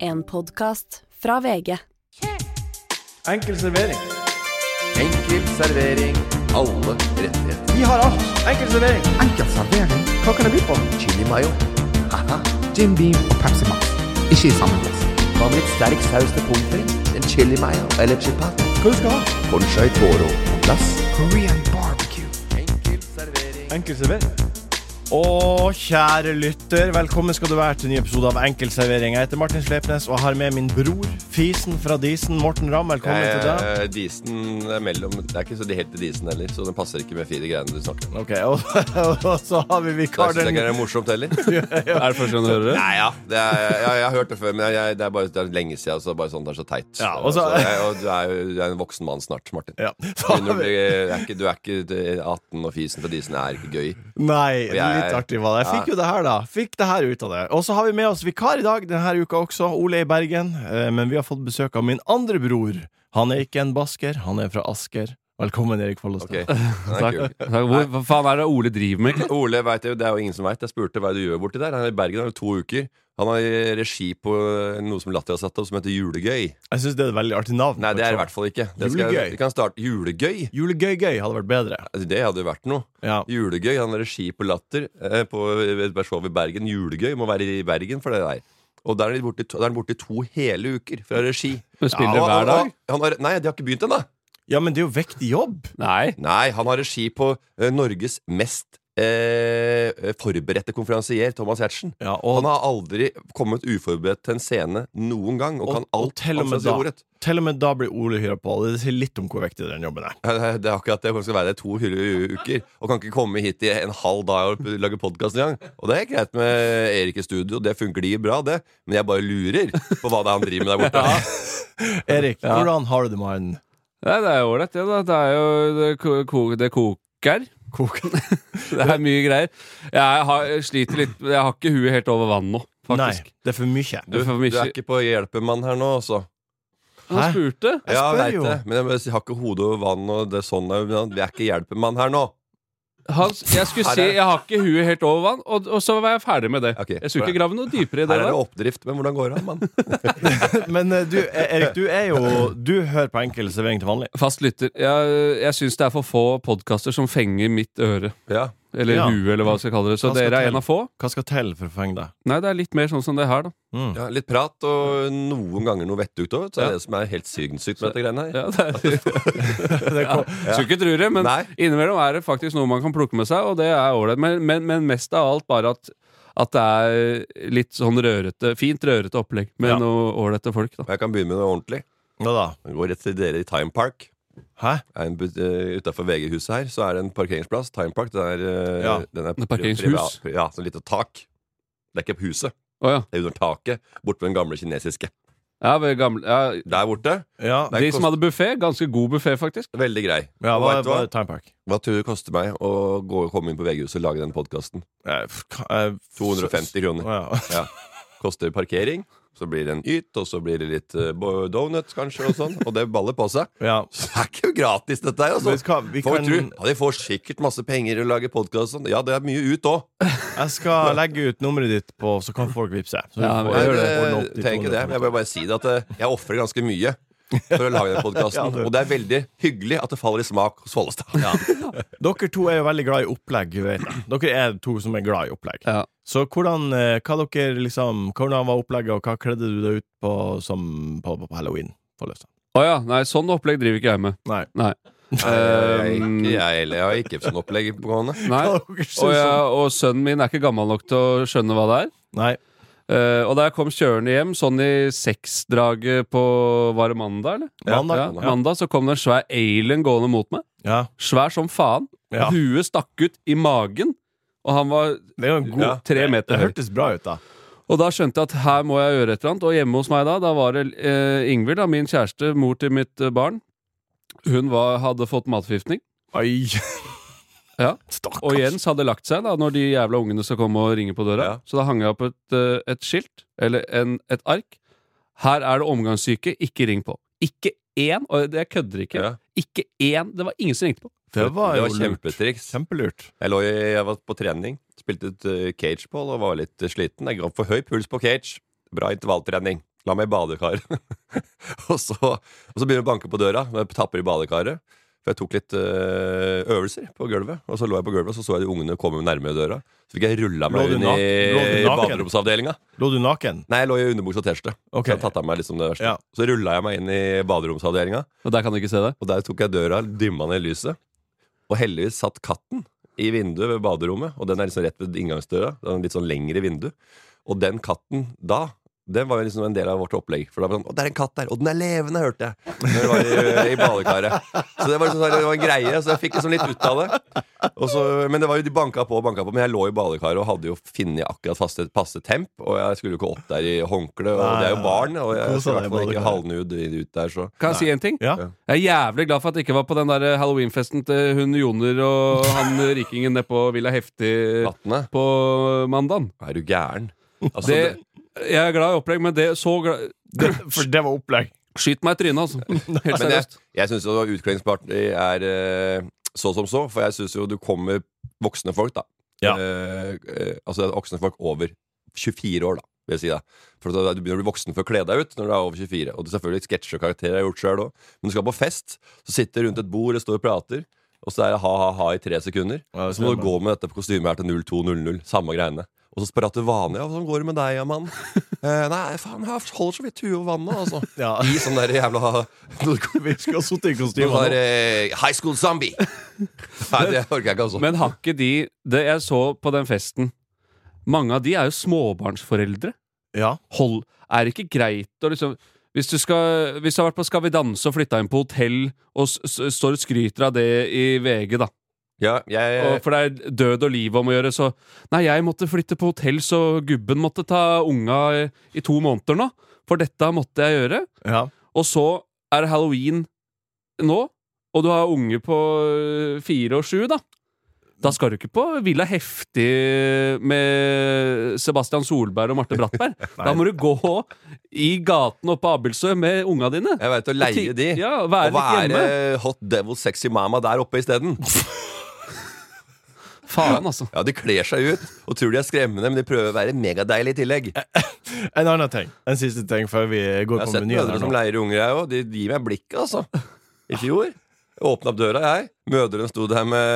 En podkast fra VG. Enkel servering. Enkel servering. Alle rettigheter. Vi har alt. Enkel servering. Enkel servering. Hva kan det by på? Chili mayo. Haha. Jim Beam og Pepsi Max. Ikke i samme plass. Hva med litt sterk saus til pommes frites? En chili mayo eller chipat? Hva du skal ha? Ponchai toro på plass. Korean barbecue. Enkel servering. Enkel servering. Og kjære lytter, velkommen skal du være til en ny episode av Enkel servering. Jeg heter Martin Slepnes og har med min bror, fisen fra Disen, Morten Ramm. Velkommen til deg. Eh. Disen er mellom Det er ikke så de helt disen heller, så den passer ikke med fire greiene du snakker om. Ok, og, og så har vi Da vikar syns jeg ikke den det er morsomt heller. Er det første gang du hører det? Nei, ja. Det er, ja, jeg har hørt det før, men jeg, det er bare det er lenge siden. Så bare sånn, det er så teit. Altså, Ja, og så- jeg, og du er jo du er en voksen mann snart, Martin. ja. Du begynner å bli- Du er ikke, du er ikke du er 18, og fisen fra Disen er ikke gøy. Nei, jeg- litt artig var det. Jeg fikk jo det her, da. Fikk det her ut av det. Og så har vi med oss vikar i dag denne uka også. Ole i Bergen. Eh, Men vi har fått besøk av min andre bror. Han er ikke en basker, han er fra Asker. Velkommen, Erik Follestad. Ok, den er Takk. kul. Takk. Hvor hva faen er det Ole driver med? egentlig? Ole vet jeg jo, det er jo ingen som veit. Jeg spurte hva er det du gjør borti der. Han er i Bergen han er jo to uker. Han har regi på noe som Latter har satt opp, som heter Julegøy. Jeg syns det er et veldig artig navn. Nei, det er det i hvert fall ikke. Det skal, Sånn. Julegøy. vi kan starte Julegøy. Julegøy-gøy hadde vært bedre. Altså, Det hadde jo vært noe. Ja. Julegøy. Han har regi på Latter eh, på et show i Bergen. Julegøy må være i Bergen for det der. Og der er han borte i to- der er han borte i to hele uker fra regi. Du spiller og- hver og- dag? Han har, nei, de har ikke begynt ennå. ja, men det er jo vektig jobb. Nei. Nei, han har regi på eh, Norges mest eh, forberedte konferansier, Thomas Giertsen. Ja, Han og har aldri kommet uforberedt til en scene noen gang, og, Og- kan og alt til og alt med som da. sier ordet. til og med da blir Ole hyra på. Det sier litt om hvor vektig den jobben er. Eh, Det er akkurat det. Han skal være der to hylle- uker og kan ikke komme hit i en halv dag og lage podkast engang. Og det er greit med Erik i studio, det funker glir bra, det, men jeg bare lurer på hva det er han driver med der borte. Erik, hvordan har du det med han? Nei, det er jo ålreit, det. da Det er jo det, ko- ko- det koker. Det er mye greier. Jeg har, jeg sliter litt Jeg har ikke huet helt over vann nå, Nei, faktisk. det er for mye. Du, Det er for du mye- er ikke på hjelpemann her nå, altså. Han spurte. Jeg Ja, spør jeg vet jo. det, men jeg bare sier, har ikke hodet over vann og det er sånn er- Vi er ikke hjelpemann her nå. Han, jeg skulle si jeg har ikke huet helt over vann, og, og så var jeg ferdig med det. Ok. Jeg skulle ikke grave noe dypere i det. Her er det der oppdrift, men hvordan går det an, mann? Men eh, du, Erik, du er jo Du hører på enkel servering til vanlig. Fast lytter. Jeg, jeg syns det er for få podkaster som fenger mitt øre. Ja. Eller Ja. huet, eller hva jeg skal kalle det. Så Hva skal dere er til? en av få. Hva skal til for å fenge deg? Nei, det er litt mer sånn som det her, da. Mm. Ja, litt prat og noen ganger noe vettugt òg. Det er Ja. det som er helt sinnssykt med dette greiene her. Ja, det er Det kom- Skulle ikke tro det, men Nei. innimellom er det faktisk noe man kan plukke med seg, og det er ålreit. Men, men, men mest av alt bare at, at det er litt sånn rørete, fint rørete opplegg med Ja. noe ålreite folk, da. Og jeg kan begynne med noe ordentlig. Hva da? Jeg går rett til dere i Time Park. Hæ? Utafor eh, VG-huset her så er det en parkeringsplass. Time Park, det er, eh, Ja. den Det er parkeringshus. priva- Ja, sånn lite tak. Det er ikke på huset, Å ja. det er under taket, borte ved den gamle kinesiske. ja, ved gamle, ja. Der borte. Ja, Det er De kost- som hadde buffé, ganske god buffé, faktisk. Veldig grei. ja Og hva, vet du hva hva? er Time Park? Hva tror du det koster meg å gå, komme inn på VG-huset og lage den podkasten? Eh, f- ka- eh, f- 250 kroner. Å, ja. koster parkering, så blir det en yt, og så blir det litt eh, bo- donuts kanskje, og sånn, og det baller på seg. ja. Så det er ikke jo gratis, dette Vet her. Altså. du hva, vi Folk kan, tror ja, de får sikkert masse penger og lager podkast og sånn. Ja, det er mye ut òg. jeg skal legge ut nummeret ditt, på, så kan folk vippse. Så Ja, vi men gjør får- det. ordne opp de Trenger ikke det. Men jeg vil bare si det at eh, jeg ofrer ganske mye for å lage den podkasten. Og det er veldig hyggelig at det faller i smak hos Follestad. Dere to er jo veldig glad i opplegg. Vet jeg. Dere er to som er glad i opplegg. Ja. Så hvordan, eh, hva dere liksom, hvordan var opplegget, og hva kledde du deg ut på som på, på, på halloween? På løsa? Å ja, nei, sånn opplegg driver ikke jeg med. Nei. Nei. Jeg, Um, jeg, jeg, jeg har ikke sånn opplegg på gående. Ehm, nei. Hva Og, dere synes jeg, om- og sønnen min er ikke gammel nok til å skjønne hva det er. Nei. Eh, og da jeg kom kjørende hjem, sånn i seksdraget på Var det mandag, eller? Ja, Ja, mandag. Ja. mandag så kom det en svær alien gående mot meg. Ja. Svær som faen. Ja. Huet stakk ut i magen, og han var Det er jo en god Ja, tre meter Det høy. hørtes bra ut, da. Og da skjønte jeg at her må jeg gjøre et eller annet. Og hjemme hos meg da, da var det eh, Ingvild, da, min kjæreste, mor til mitt eh, barn. Hun var, hadde fått matforgiftning. Oi. Ja. Stakkars. Og Jens hadde lagt seg da når de jævla ungene skal komme og ringe på døra. Ja. Så da hang jeg opp et, eh, et skilt, eller en, et ark. Her er det omgangssyke, ikke ring på. Ikke én, og det jeg kødder ikke, Ja. ikke én. Det var ingen som ringte på. Det var det jo var lurt. kjempetriks. Kjempelurt. Jeg, lå, i- jeg var på trening, spilte ut eh, cageball og var litt eh, sliten. Jeg ga for høy puls på cage. Bra intervalltrening. La meg i badekaret. og, så, og så begynner jeg å banke på døra. og Jeg tapper i badekaret. For jeg tok litt øh, øvelser på gulvet. Og så lå jeg på gulvet, og så så jeg de ungene komme nærmere døra. Så fikk jeg rulla Lå meg du inn nak- i, lå i du naken? baderomsavdelinga. Lå du naken? Nei, jeg lå i underbuksa og T-skjorte. Ok. Så jeg tatt av meg liksom det verste. Ja. Så rulla jeg meg inn i baderomsavdelinga, Og der kan du ikke se det? og der tok jeg døra, dymma ned lyset. Og heldigvis satt katten i vinduet ved baderommet, og den er liksom rett ved inngangsdøra. Det er en litt sånn lengre vindu. Og den katten da den var jo liksom en del av vårt opplegg. For da var det sånn, å, det er en katt der, og den er levende, hørte jeg. Når jeg var i, i badekaret. Så det var, liksom, sånn- det var en greie, så jeg fikk liksom litt ut av det. Og så- men det var jo de banka på og banka på, men jeg lå i badekaret og hadde jo funnet akkurat faste, passe temp. Og jeg skulle jo ikke opp der i håndkle, og det er jo barn, og jeg Kos skulle i deg i hvert fall ikke badekaret. halvnud i- ut der, så Kan jeg si en ting? Ja. Jeg er jævlig glad for at jeg ikke var på den der eh, halloweenfesten til hun Joner og han rikingen nede på Villa Heftig Kattene, på mandagen. er du gæren? Altså, Det, det, jeg er glad i opplegg, men det så glad Det, for det var opplegg. Skyt meg i trynet, altså. Helt men jeg, seriøst. jeg syns jo utkledningsparty er eh, så som så, for jeg syns jo du kommer voksne folk, da. Ja. Eh, eh, altså voksne folk over 24 år, da. Vil jeg si da. For da- Du begynner å bli voksen for å kle deg ut når du er over 24. Og det er selvfølgelig sketsjer og karakterer jeg har gjort selv òg. Men du skal på fest, så sitter du rundt et bord og står og prater, og så er det ha-ha-ha i tre sekunder. Ja, det Så må stemmer. du gå med dette på kostymet her til 02.00. Samme greiene. Og så prater du vanlig. Ja, 'Hvordan går det med deg, ja, mann?' eh, 'Nei, faen, jeg holder så vidt huet over vannet', altså. Ja. I sånn der jævla Vi skulle ha sittet i Du kostyme. har nå. eh, High School Zombie! Nei, det orker jeg ikke, altså. Men har ikke de Det jeg så på den festen Mange av de er jo småbarnsforeldre. Ja. Hold, er det ikke greit å liksom hvis du, skal, hvis du har vært på Skal vi danse og flytta inn på hotell og s s står og skryter av det i VG, da ja, jeg, og For det er død og liv om å gjøre, så Nei, jeg måtte flytte på hotell, så gubben måtte ta unga i, i to måneder nå. For dette måtte jeg gjøre. ja. Og så er det halloween nå, og du har unge på øh, fire og sju, da. Da skal du ikke på Villa Heftig med Sebastian Solberg og Marte Brattberg. da må du gå i gaten oppe på Abildsø med unga dine. jeg vet å leie de. Ja, og være hva litt er hjemme. det Hot Devil Sexy Mama der oppe isteden? Faen, altså. Ja, de kler seg ut og tror de er skremmende, men de prøver å være megadeilige i tillegg. En annen ting. En siste ting før vi går Jeg har på sett menyen. mødre her som nå. leier unger, jeg òg. De gir meg blikket, altså. I fjor. Åpna opp døra, jeg. Mødrene sto der med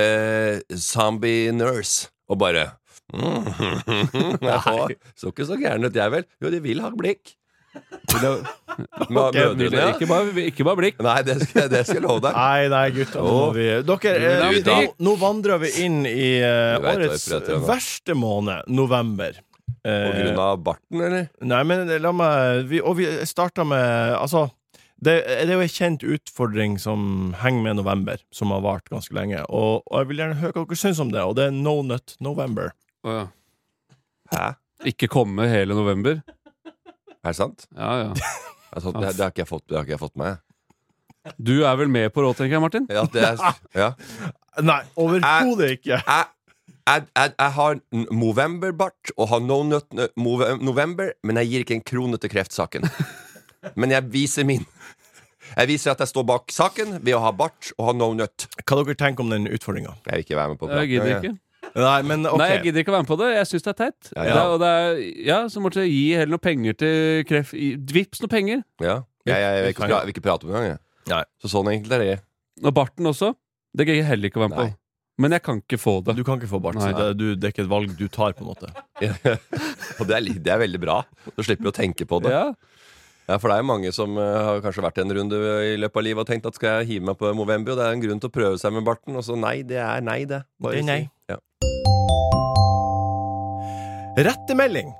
eh, zombie nurse og bare mm, Jaha, Så ikke så gæren ut, jeg vel. Jo, de vil ha blikk. Ok, mødrene, ja. Ikke bare, ikke bare blikk. Nei, det skal, jeg- det skal jeg love deg. Nei, nei, gutta. Nå, må vi, dere, eh, Gutta. nå, nå vandrer vi inn i eh, Du vet hva jeg årets prøver til nå. verste måned, november. På Eh, grunn av barten, eller? Nei, men la meg vi, Og vi starta med Altså, det, det er jo en kjent utfordring som henger med november, som har vart ganske lenge. Og, og jeg vil gjerne høre hva dere syns om det, og det er No Nut November. Å, ja. Hæ? Ikke komme hele november. Er det sant? Ja, ja. Er det, sant? Det, det, har ikke jeg fått, det har ikke jeg fått med meg. Du er vel med på råd, tenker jeg, Martin? Ja, det er, ja. Nei, overhodet ikke! jeg, jeg, jeg, jeg har n- Movember-bart og har no nut n- move- November, men jeg gir ikke en krone til kreftsaken. Men jeg viser min. Jeg viser at jeg står bak saken ved å ha bart og ha no nut. Hva dere tenker om den utfordringa? Jeg vil ikke være med på Jeg gidder ikke. Nei, men ok. Nei, jeg gidder ikke å være med på det. Jeg syns det er teit. Ja, Ja, ja. Det, er- og det er, ja, så måtte jeg gi heller noen penger til kreft... i- Vips noen penger. Ja. Jeg, jeg, vil ikke pra- jeg vil ikke prate om det engang. Nei. jeg. Så sånn egentlig er det. Og barten også. Det gidder jeg heller ikke å være med Nei. på. Men jeg kan ikke få det. Du kan ikke få bart. så Nei. Det, du, det er ikke et valg du tar, på en måte. Og det er, li- det er veldig bra. Så slipper vi å tenke på det. ja. Ja, for det er jo mange som eh, har kanskje vært en runde i løpet av livet og tenkt at skal jeg hive meg på Movember, og det er en grunn til å prøve seg med barten, og så nei, det er nei, det. Det er si. nei. Ja. Rettemelding.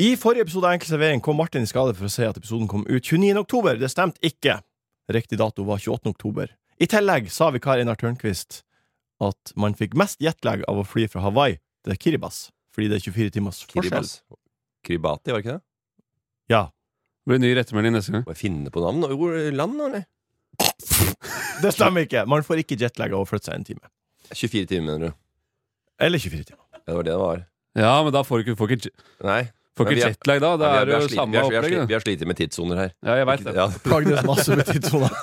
I forrige episode av Enkel servering kom Martin i skade for å si at episoden kom ut 29. oktober. Det stemte ikke. Riktig dato var 28. oktober. I tillegg sa vikar Einar Tørnquist at man fikk mest jetlag av å fly fra Hawaii til Kiribas, fordi det er 24 timers forskjell. Kiribas. Kiribati, var det ikke det? Ja, Det blir ny rettemelding neste gang. Må jeg finne på navn? og ord- Land, eller? det stemmer ikke. Man får ikke jetlag av å flytte seg en time. 24 timer, mener du. Eller 24 timer. Ja, det var det det var. Ja, men da får du ikke, får ikke, Nei. Får Men vi ikke er- jetlag da. Det Ja, vi, er har- vi, har jo slitt- vi, samme har- vi, har slitt- opplegget. vi har slitt med tidssoner her. Ja, jeg veit det. Ja. Plagdes masse med tidssona.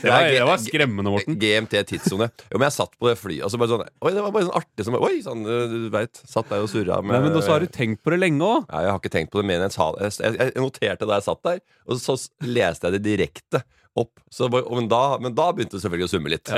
Ja, G- det var skremmende, Morten. GMT tidssone. Jo, men jeg satt på det flyet, og så bare sånn Oi, det var bare sånn artig som Oi, sånn, eh, du vet Satt der og surra med Nei, men også har du tenkt på det lenge òg. Nei, jeg har ikke tenkt på det mer enn jeg sa det. Jeg, jeg noterte da jeg satt der, og så s- leste jeg det direkte opp. Så, det var- og men, da, men da begynte det selvfølgelig å summe litt.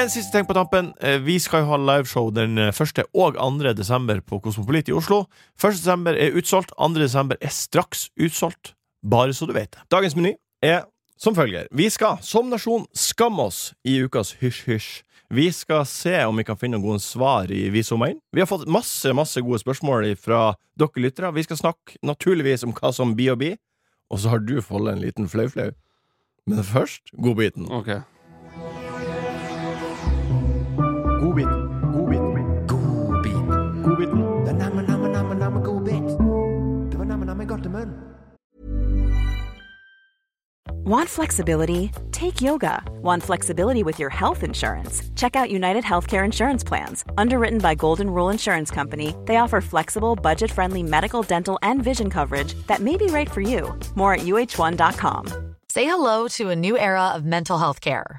En siste ting på tampen. Eh, Vi skal jo ha liveshow den 1. og 2. desember på Kosmopolit i Oslo. 1. desember er utsolgt, 2. desember er straks utsolgt. Bare så du vet det. Dagens meny er som følger. Vi skal som nasjon skamme oss i ukas hysj-hysj. Vi skal se om vi kan finne noen gode svar i visommaien. Vi har fått masse masse gode spørsmål fra dere lyttere. Vi skal snakke naturligvis om hva som blir og blir. Og så har du foldet en liten flau-flau. Men først godbiten. Ok. Godbit. Godbit. God bit. Godbiten. Det er namme, namme, namme, namme god bit. Det var namme, namme godt i munnen. Want flexibility? Take yoga. Want flexibility with your health insurance? Check out United Healthcare Insurance Plans. Underwritten by Golden Rule Insurance Company, they offer flexible, budget friendly medical, dental, and vision coverage that may be right for you. More at uh1.com. Say hello to a new era of mental health care.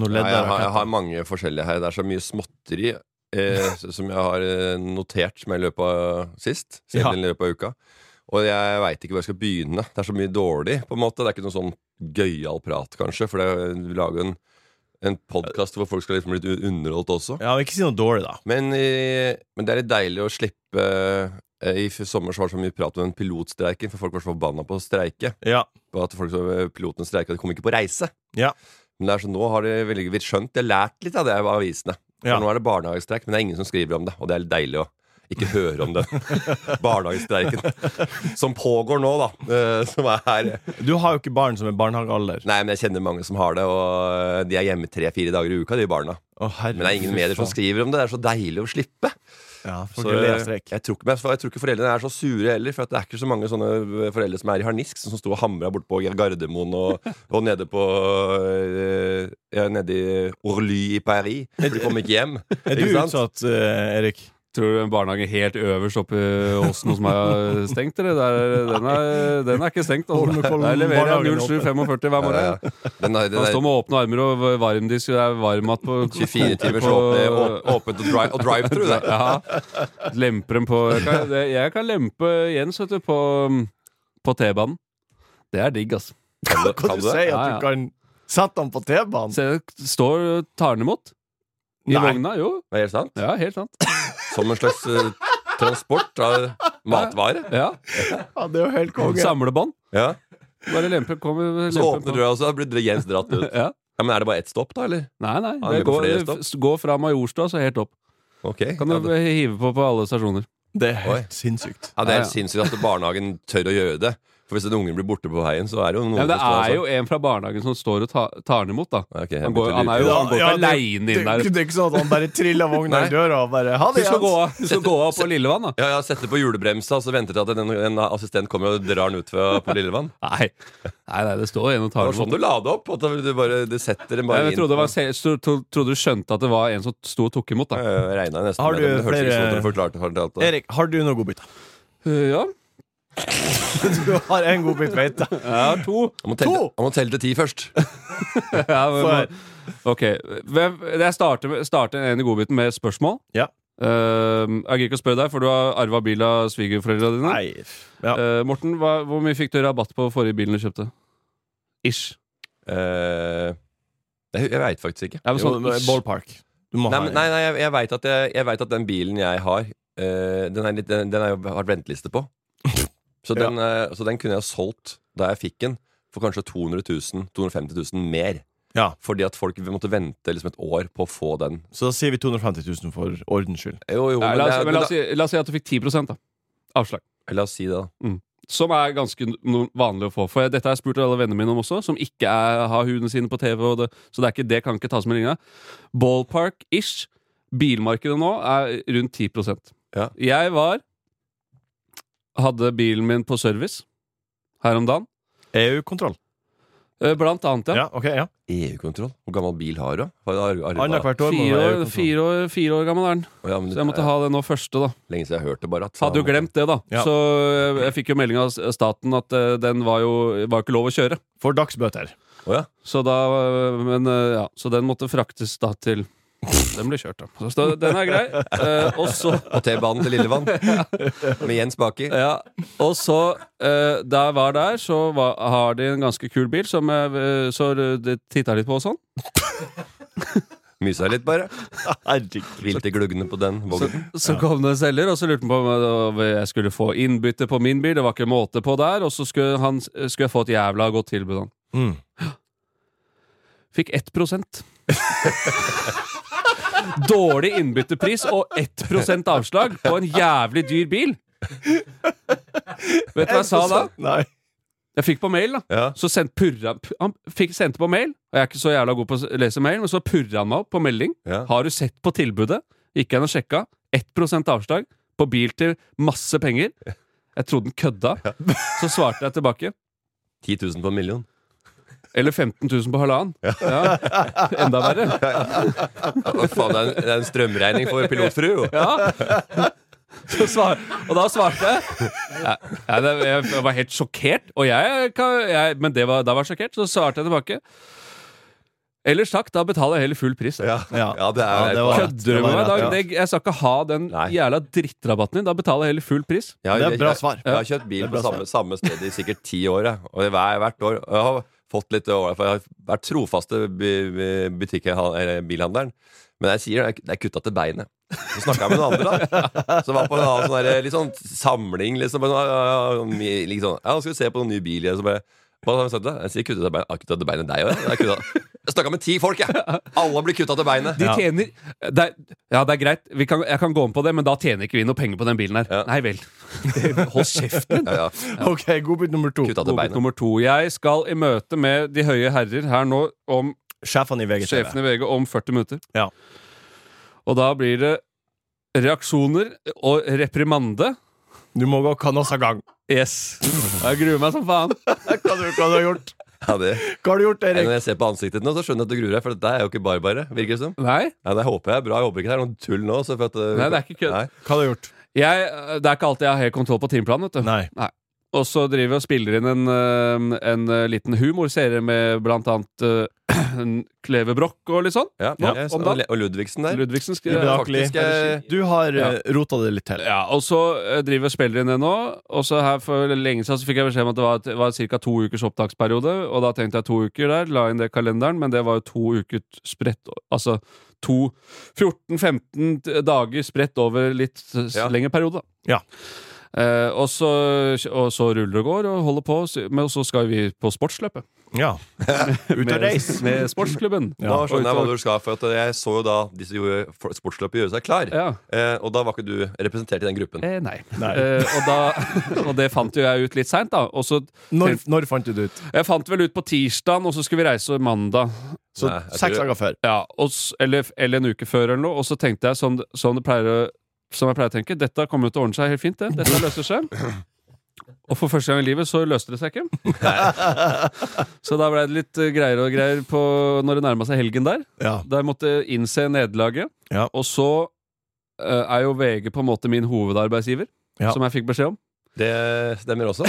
noe Ja, ledd jeg, der. har, jeg har mange forskjellige her. Det er så mye småtteri eh, s- som jeg har eh, notert som jeg løp av sist. Ja. Siden i løpet av uka. Og jeg veit ikke hvor jeg skal begynne. Det er så mye dårlig, på en måte. Det er ikke noe sånn gøyal prat, kanskje. For det er du lager en, en podkast hvor folk skal liksom bli litt u- underholdt også. Ja, men ikke si noe dårlig, da. Men, eh, men det er litt deilig å slippe eh, I f- sommer så var det så mye prat om den pilotstreiken, for folk var så forbanna på å streike. Ja. På at folk, så- eh, pilotene streika, de kom ikke på reise. Ja. Men det er så, nå har de veldig vidt skjønt De har lært litt av det av avisene. For Ja. Nå er det barnehagestreik, men det er ingen som skriver om det. Og det er litt deilig å ikke høre om den barnehagestreiken som pågår nå, da. eh, Som er her. Du har jo ikke barn som er barnehagealder. Nei, men jeg kjenner mange som har det, og eh, de er hjemme tre-fire dager i uka, de barna. Å, herre, Men det er ingen fy medier som faen. skriver om det. Det er så deilig å slippe. Ja, Så for ikke å le av jeg, strekk. jeg, tror ikke, men jeg, jeg tror ikke foreldrene er så sure heller, for at det er ikke så mange sånne eh, foreldre som er i harnisk, som sto og hamra bortpå Gardermoen og, og nede på øh, ja, Nede i Orly i Paris. For de kom ikke hjem. Er du ikke sant? utsatt, eh, Erik? Tror du en barnehage helt øverst oppe i åsen hos meg er stengt, eller? Der, den, er, den er ikke stengt. Altså. Holmenkollen Der leverer jeg barnehagen åpen. 07.45 hver Ja, morgen. ja. Men nei, det Han står der med åpne armer og varmdisk, det er varmmat på 24 timers på- åpne, å- eh, åpent og drive, og drive through, det. Ja. Lemper dem på Jeg kan, det, jeg kan lempe Jens, vet du, på, på T-banen. Det er digg, altså. Kan du, Kan kan du du det? si at Ja, ja. du kan sette han på T-banen? Så jeg står og tar den imot. I Nei. vogna, jo. Det er helt sant? Ja, helt sant. Som en slags øh, transport av matvare. Ja. Ja, det er jo helt konge. Samlebånd. Ja. Bare lempe. Kom, Så lempe åpner døra, og så blir Jens dratt ut. Ja. Ja, men er det bare ett stopp, da, eller? Nei, nei. Ja, Det det går går, flere det stopp. f- går fra Majorstua så helt opp. Ok. Kan Ja, du det- hive på på alle stasjoner. Det er Oi. helt sinnssykt. Ja, Det er Ja, helt sinnssykt at barnehagen tør å gjøre det. For hvis en unge blir borte på veien, så er det jo noen Ja, men det som står er der jo en fra barnehagen som står og ta, tar den imot, da. sånn. altså. Ok, jeg Han, går, begynte å han er jo lure. han går ikke Ja, det- aleine Det inn er der. ikke- det er ikke sånn at han bare triller vogna Nei. i døra og bare Ha Du det, skal gå Jens! av, du skal gå av på Lillevann, da. Ja, jeg setter på julebremsa, og så venter jeg til at en, en assistent kommer og drar den ut fra, på Lillevann. Nei, nei, nei det står en Det og tar var den sånn imot. du la det opp. At du bare du setter den Ja, bare Jeg inn. trodde, det var, se- så- tro- trodde du skjønte at det var en som sto og tok imot, da. Jeg regnet nesten Har med du det, men det hørtes ikke flere- sånn ut når du forklarte, fortalte det. Erik, har du noen godbiter? Uh, Ja, Du har en godbit, vet jeg. jeg har to. Jeg må telle, To! jeg må telle til ti først. Ja, men, For- ok, Hvem- jeg starter, med- starter en i godbiten med et spørsmål. Ja. Eh, jeg gidder ikke å spørre deg, for du har arva bil av svigerforeldra dine. Nei. Ja. Eh, Morten, hva, hvor mye fikk du rabatt på forrige bilen du kjøpte? Ish. Eh, jeg jeg veit faktisk ikke. Jeg var Jo, sånn, men ish. ballpark. Du må Nei, ha en. men- nei, nei jeg, jeg veit at, jeg- jeg vet at den bilen jeg har, eh, den, er litt, den, den har jeg vært venteliste på. Så Ja. den, eh, så den kunne jeg solgt da jeg fikk den, for kanskje 200 000, 250 000 mer. Ja. Fordi at folk måtte vente liksom et år på å få den. Så da sier vi 250 000 for ordens skyld. Jo, jo, Nei, men la, det er- oss, men la, oss, da- si- la oss si at du fikk 10 da. avslag. la oss si det, da. Som er ganske no vanlig å få. For jeg, dette har jeg spurt alle vennene mine om også, som ikke er, har hundene sine på TV. Og det, så det, er ikke, det kan ikke tas med linja. Ballpark-ish. Bilmarkedet nå er rundt 10 Ja. Jeg var Hadde bilen min på service her om dagen. E EU-kontroll. Eh, Blant annet, ja. Ja, ok, ja. EU-kontroll? E Hvor gammel bil har du? da? Har du ar- arvet- Annethvert år. må E det være Fire år, EU-kontroll. fire, år, fire år gammel er den. Å, ja, men Så du- jeg måtte ha det nå første, da. Lenge siden jeg har hørt det, bare. At, Hadde jo glemt det, da. Ja. Så jeg, jeg fikk jo melding av s- staten at eh, den var jo var ikke lov å kjøre. For dagsbøter. Å, ja. Så da eh, Men eh, ja, så den måtte fraktes da til Den ble kjørt, da. Så da- den er grei. Eh, og så På T-banen til Lillevann. Med Jens baki. ja, og så eh, Da jeg var der, så var, har de en ganske kul bil som jeg eh, så titta litt på og sånn. Mysa litt, bare. Herregud. Hvilte gluggene på den Så, vognen. så kom det en selger, og så lurte han på om jeg- om jeg skulle få innbytte på min bil. Det var ikke måte på der. Og så skulle, han, skulle jeg få et jævla godt tilbud. Han. Mm. Fikk 1 Dårlig innbyttepris og 1 avslag på en jævlig dyr bil. Vet du hva jeg sa da? Nei. Jeg fikk på mail, da. Ja. Så sendt purra, han fikk, sendte på mail, og jeg er ikke så jævla god på å lese mail, men så purra han meg opp på melding. Ja. Har du sett på tilbudet? Gikk jeg inn og sjekka. 1 avslag på bil til masse penger. Jeg trodde den kødda. Så svarte jeg tilbake. 10 000 på en million. Eller 15 000 på halvannen. Ja. Enda verre. Å, faen, det er, en, det er en strømregning for pilotfru, jo. Ja. Så svar, og da svarte jeg Nei, nei, det- Jeg var helt sjokkert, og jeg, kan- jeg Men det var, da var jeg sjokkert, så svarte jeg tilbake. Ellers takk, da betaler jeg heller full pris. Ja. Ja. Ja, det er, Ja, det var- Kødder du med meg? Da, Ja. det, jeg skal ikke ha den Nei. jævla drittrabatten din. Da betaler jeg heller full pris. Jeg har- Det er bra jeg- svar. Jeg har kjøpt bil på samme, samme sted i sikkert ti år. Jeg. Og det er hver, hvert år. Og jeg har fått litt over, for jeg har vært trofaste by- by- butikkha- eller bilhandleren. Men jeg sier det er kutta til beinet. Så snakka jeg med noen andre, da. Som var på en annen sånn der, litt sånn samling, liksom. Bare sånn, ja, ja, ja, mi- liksom, ja, nå skal vi se på noen ny bil. ja, Så bare, hva har jeg sagt da? Jeg sier kutta til beinet. Ja, kutta til beinet deg òg, jeg. Jeg, kutta- jeg snakka med ti folk, jeg. Alle blir kutta til beinet. De tjener det er, Ja, det er greit, vi kan, jeg kan gå om på det, men da tjener ikke vi noe penger på den bilen her. Ja. Nei vel. Hold kjeft. Ja, ja. Ok, godbit nummer to. Kutta til Godbit beinet. nummer to. Jeg skal i møte med de høye herrer her nå om Sjefene i VGTV. sjefen i VG om 40 minutter. Ja. Og da blir det reaksjoner og reprimande. Du må gå kanos av gang. Yes. Jeg gruer meg som faen. Hva du, hva du har gjort? Ja, det. Hva har du gjort, Erik? Når jeg ser på ansiktet ditt nå, så skjønner jeg at du gruer deg, for dette er jo ikke bare bare, virker det som. Nei, Ja, det håper jeg er bra. Jeg håper ikke det er noe tull nå. Så for at, Nei, det er ikke kødd. Nei. Hva har du gjort? jeg, eh, det er ikke alltid jeg har helt kontroll på timeplanen. vet du. Nei. Og så driver jeg og spiller inn en, eh, en eh, liten humorserie med blant annet eh, Kleve Broch og litt sånn. Ja, Ja, jeg- om da. og Le- Og Ludvigsen der. Ludvigsen skal Ubehagelig. faktisk, eh, Du har ja. eh, rota det litt til. Ja, og så eh, driver jeg og spiller inn det nå. Og så her for lenge siden så fikk jeg beskjed om at det var, et- var ca. to ukers opptaksperiode. Og da tenkte jeg to uker der, la inn det i kalenderen, men det var jo to uker spredt Altså to 14-15 t- dager spredt over litt s- Ja. lengre periode, da. Ja. Eh, og, så, og så ruller og går og holder på, så- men så skal vi på sportsløpet. Ja. Ut og reis. Med, med sportsklubben. Nå Og skjønner jeg ut hva og- du skal, for at jeg så jo da disse gjorde for- sportsløpet gjøre seg klar. Ja. Eh, og da var ikke du representert i den gruppen. Eh, nei. Nei. Eh, og, da, og det fant jo jeg ut litt seint, da. Og så Når, når fant du det ut? Jeg fant vel ut på tirsdagen, og så skulle vi reise mandag. Så Nei, jeg seks tror- dager før. Ja, og, s- eller, eller en uke før, eller noe. Og så tenkte jeg som, som, det pleier, å- som jeg pleier å tenke, dette kommer jo til å ordne seg helt fint, det. Dette løser seg. Og for første gang i livet så løste det seg ikke. Så da ble det litt eh, greier og greier på når det nærma seg helgen der. Ja. Der måtte jeg innse nederlaget. Ja. Og så eh, er jo VG på en måte min hovedarbeidsgiver, Ja. som jeg fikk beskjed om. Det stemmer også.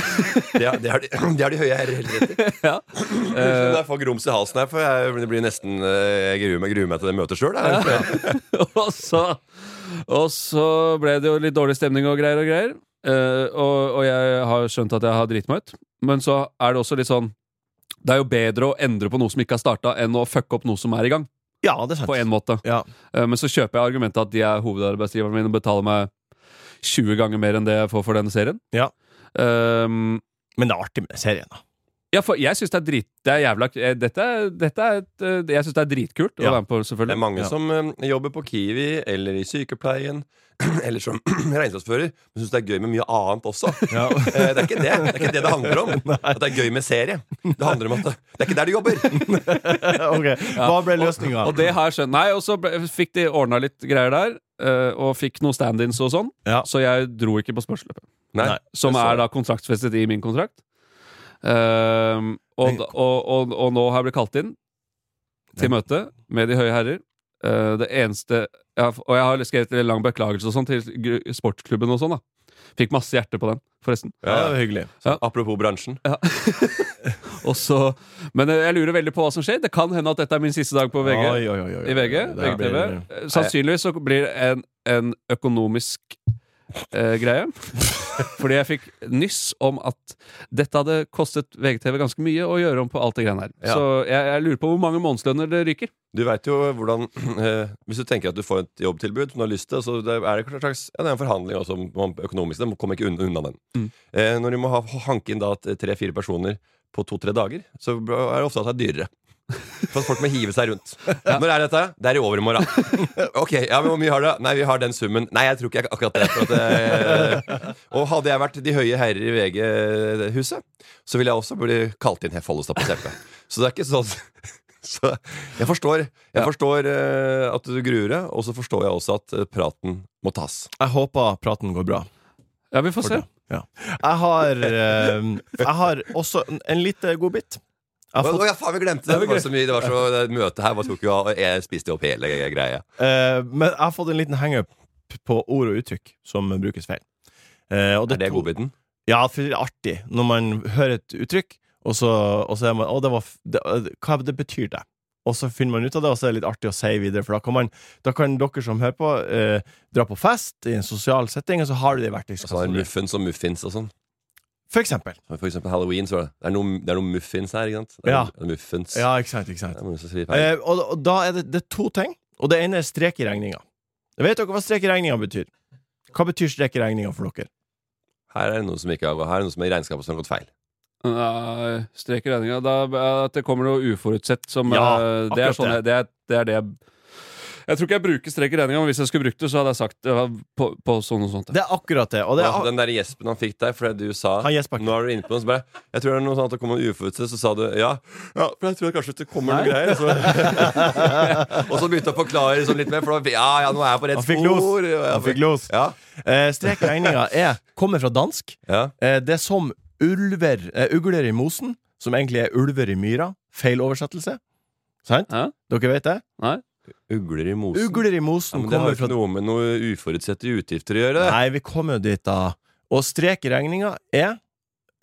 Det er, det er, de, det er de høye herrer heller etter. Ja. Eh. Når jeg får grums i halsen her, for jeg, det blir nesten, eh, jeg gruer meg, gruer meg til det møtet sjøl. og, så, og så ble det jo litt dårlig stemning og greier og greier. Eh, og, og jeg har skjønt at jeg har driti meg ut. Men så er det også litt sånn Det er jo bedre å endre på noe som ikke har starta, enn å fucke opp noe som er i gang. Ja, det er sant. På en måte. Ja. Eh, men så kjøper jeg argumentet at de er hovedarbeidsgiverne mine og betaler meg 20 ganger mer enn det jeg får for denne serien. Ja. Ehm, Men det er artig med serien, da. ja, for jeg syns det er drit... Det er jævla eh, Dette, er- dette er et, eh, Jeg syns det er dritkult å Ja. være med på, Det er selvfølgelig. mange Ja. som eh, jobber på Kiwi eller i sykepleien eller som regnskapsfører, men syns det er gøy med mye annet også. Ja. Eh, Det er ikke det det, er ikke det, det handler om. At det er gøy med serie. Det handler om at det, det er ikke der du jobber. ok, Hva ble løsninga? Og det har jeg skjønt. Nei, og så ble- fikk de ordna litt greier der, eh, og fikk noen stand-ins og sånn, Ja. så jeg dro ikke på spørsmålet. Nei, Nei. Som Så- er da kontraktsfestet i min kontrakt. Ehm, og, da- og, og, og nå har jeg blitt kalt inn til møte med de høye herrer. Eh, det eneste jeg har, Og jeg har skrevet en lang beklagelse og sånn til gru- sportsklubben og sånn, da. Fikk masse hjerte på den, forresten. Ja, det var hyggelig. Apropos bransjen. Og så, men jeg lurer veldig på hva som skjer. Det kan hende at dette er min siste dag på VG. Oi, oi, oi, oi. I VG, Det her VGTV. blir- Eh, Sannsynligvis så blir det en, en økonomisk eh, greie. Fordi jeg fikk nyss om at dette hadde kostet VGTV ganske mye å gjøre om på alt det greiene her. Ja. Så jeg, jeg lurer på hvor mange månedslønner det ryker. Du veit jo hvordan eh, Hvis du tenker at du får et jobbtilbud som du har lyst til, så det er det en slags ja, det er en forhandling også om, om økonomisk. Den kommer ikke unna, unna den. Eh, når du må ha, hanke inn da eh, tre-fire personer på to-tre dager, så er det ofte at det er dyrere. For at folk må hive seg rundt. Når er dette? Det er i overmorgen. Ok, ja, men hvor mye har du? Nei, vi har den summen. Nei, jeg tror ikke jeg akkurat det. For at, eh, og hadde jeg vært de høye herrer i VG-huset, så ville jeg også blitt kalt inn Hef Follestad på teppet. Så det er ikke sånn så jeg forstår, jeg forstår eh, at du gruer deg, og så forstår jeg også at eh, praten må tas. Jeg håper praten går bra. Ja, vi får for se. det. Ja. Jeg har eh, Jeg har også en- en lite godbit. Jeg har Å fått ja, faen, vi glemte det! Det var så mye, det var så, det møtet her bare tok jo av, og jeg spiste opp hele greia. Eh, men jeg har fått en liten hangup på ord og uttrykk som brukes feil. Eh, og Er det godbiten? Ja, for det er artig når man hører et uttrykk, og så, og så er man Å, det var f- det, Hva det betyr det? Og så finner man ut av det, og så er det litt artig å si videre, for da kan, man, da kan dere som hører på, eh, dra på fest i en sosial setting, og så har du det i Sånn er verktøyskassen. muffins og muffins og sånn. For eksempel. For eksempel halloween. Så var det, det, er noen, det er noen muffins her, ikke sant? Det er Ja. noen Muffins. Ja, ikke sant, ikke sant. Det er mange som sier feil. Eh, og, og da er det, det er to ting, og det ene er strek i regninga. Vet dere hva strek i regninga betyr? Hva betyr strek i regninga for dere? Her er det noen som ikke har Her er det noen som i regnskapet som har gått feil. Nei, Strek i regninga. Da- At det kommer noe uforutsett som Ja, eh, det, er akkurat sånn, jeg- det, er, det er det jeg Jeg tror ikke jeg bruker strek i regninga, men hvis jeg skulle brukt det, så hadde jeg sagt eh, på, på sånn og sånt. Det er akkurat det. Og det Og er, den der gjespen han fikk der fordi du sa Han gjespa ikke. Nå er du inne på noe som bare Jeg tror det er noe sånn at det kommer noe uforutsett, så sa du ja. Ja, for jeg tror kanskje det kommer noe greier. Så. og så begynte jeg å forklare sånn litt mer, for da Ja, ja, nå er jeg på rett han spor. fikk los. Ja, Han fikk los. Ja. Eh, strek i regninga er, kommer fra dansk. ja. Eh, Det er som ulver, eh, ugler i mosen, som egentlig er ulver i myra. Feil oversettelse. Sant? Ja. Dere vet det? Nei? Ugler i mosen. Ugler i ja, mosen men det har kommer jo fra ikke noe med noe uforutsette utgifter å gjøre. det. Nei, vi kommer jo dit, da. Og strek i regninga er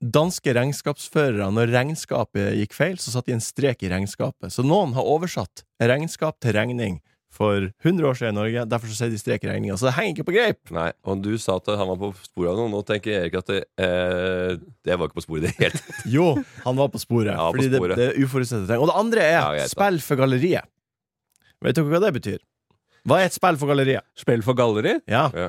danske regnskapsførere. Når regnskapet gikk feil, så satt de en strek i regnskapet. Så noen har oversatt regnskap til regning for 100 år siden i Norge. Derfor så sier de strek i regninga. Så det henger ikke på greip! Nei, og du sa at han var på sporet av noe. Nå tenker Erik at det, eh, det var ikke på sporet i det hele tatt. Jo, han var på sporet. Ja, på fordi sporet. Det, det er uforutsette ting. Og det andre er Ja, jeg vet det. spill for galleriet. Vet dere hva det betyr? Hva er et spill for galleriet? Spill for galleri? Ja. Ja.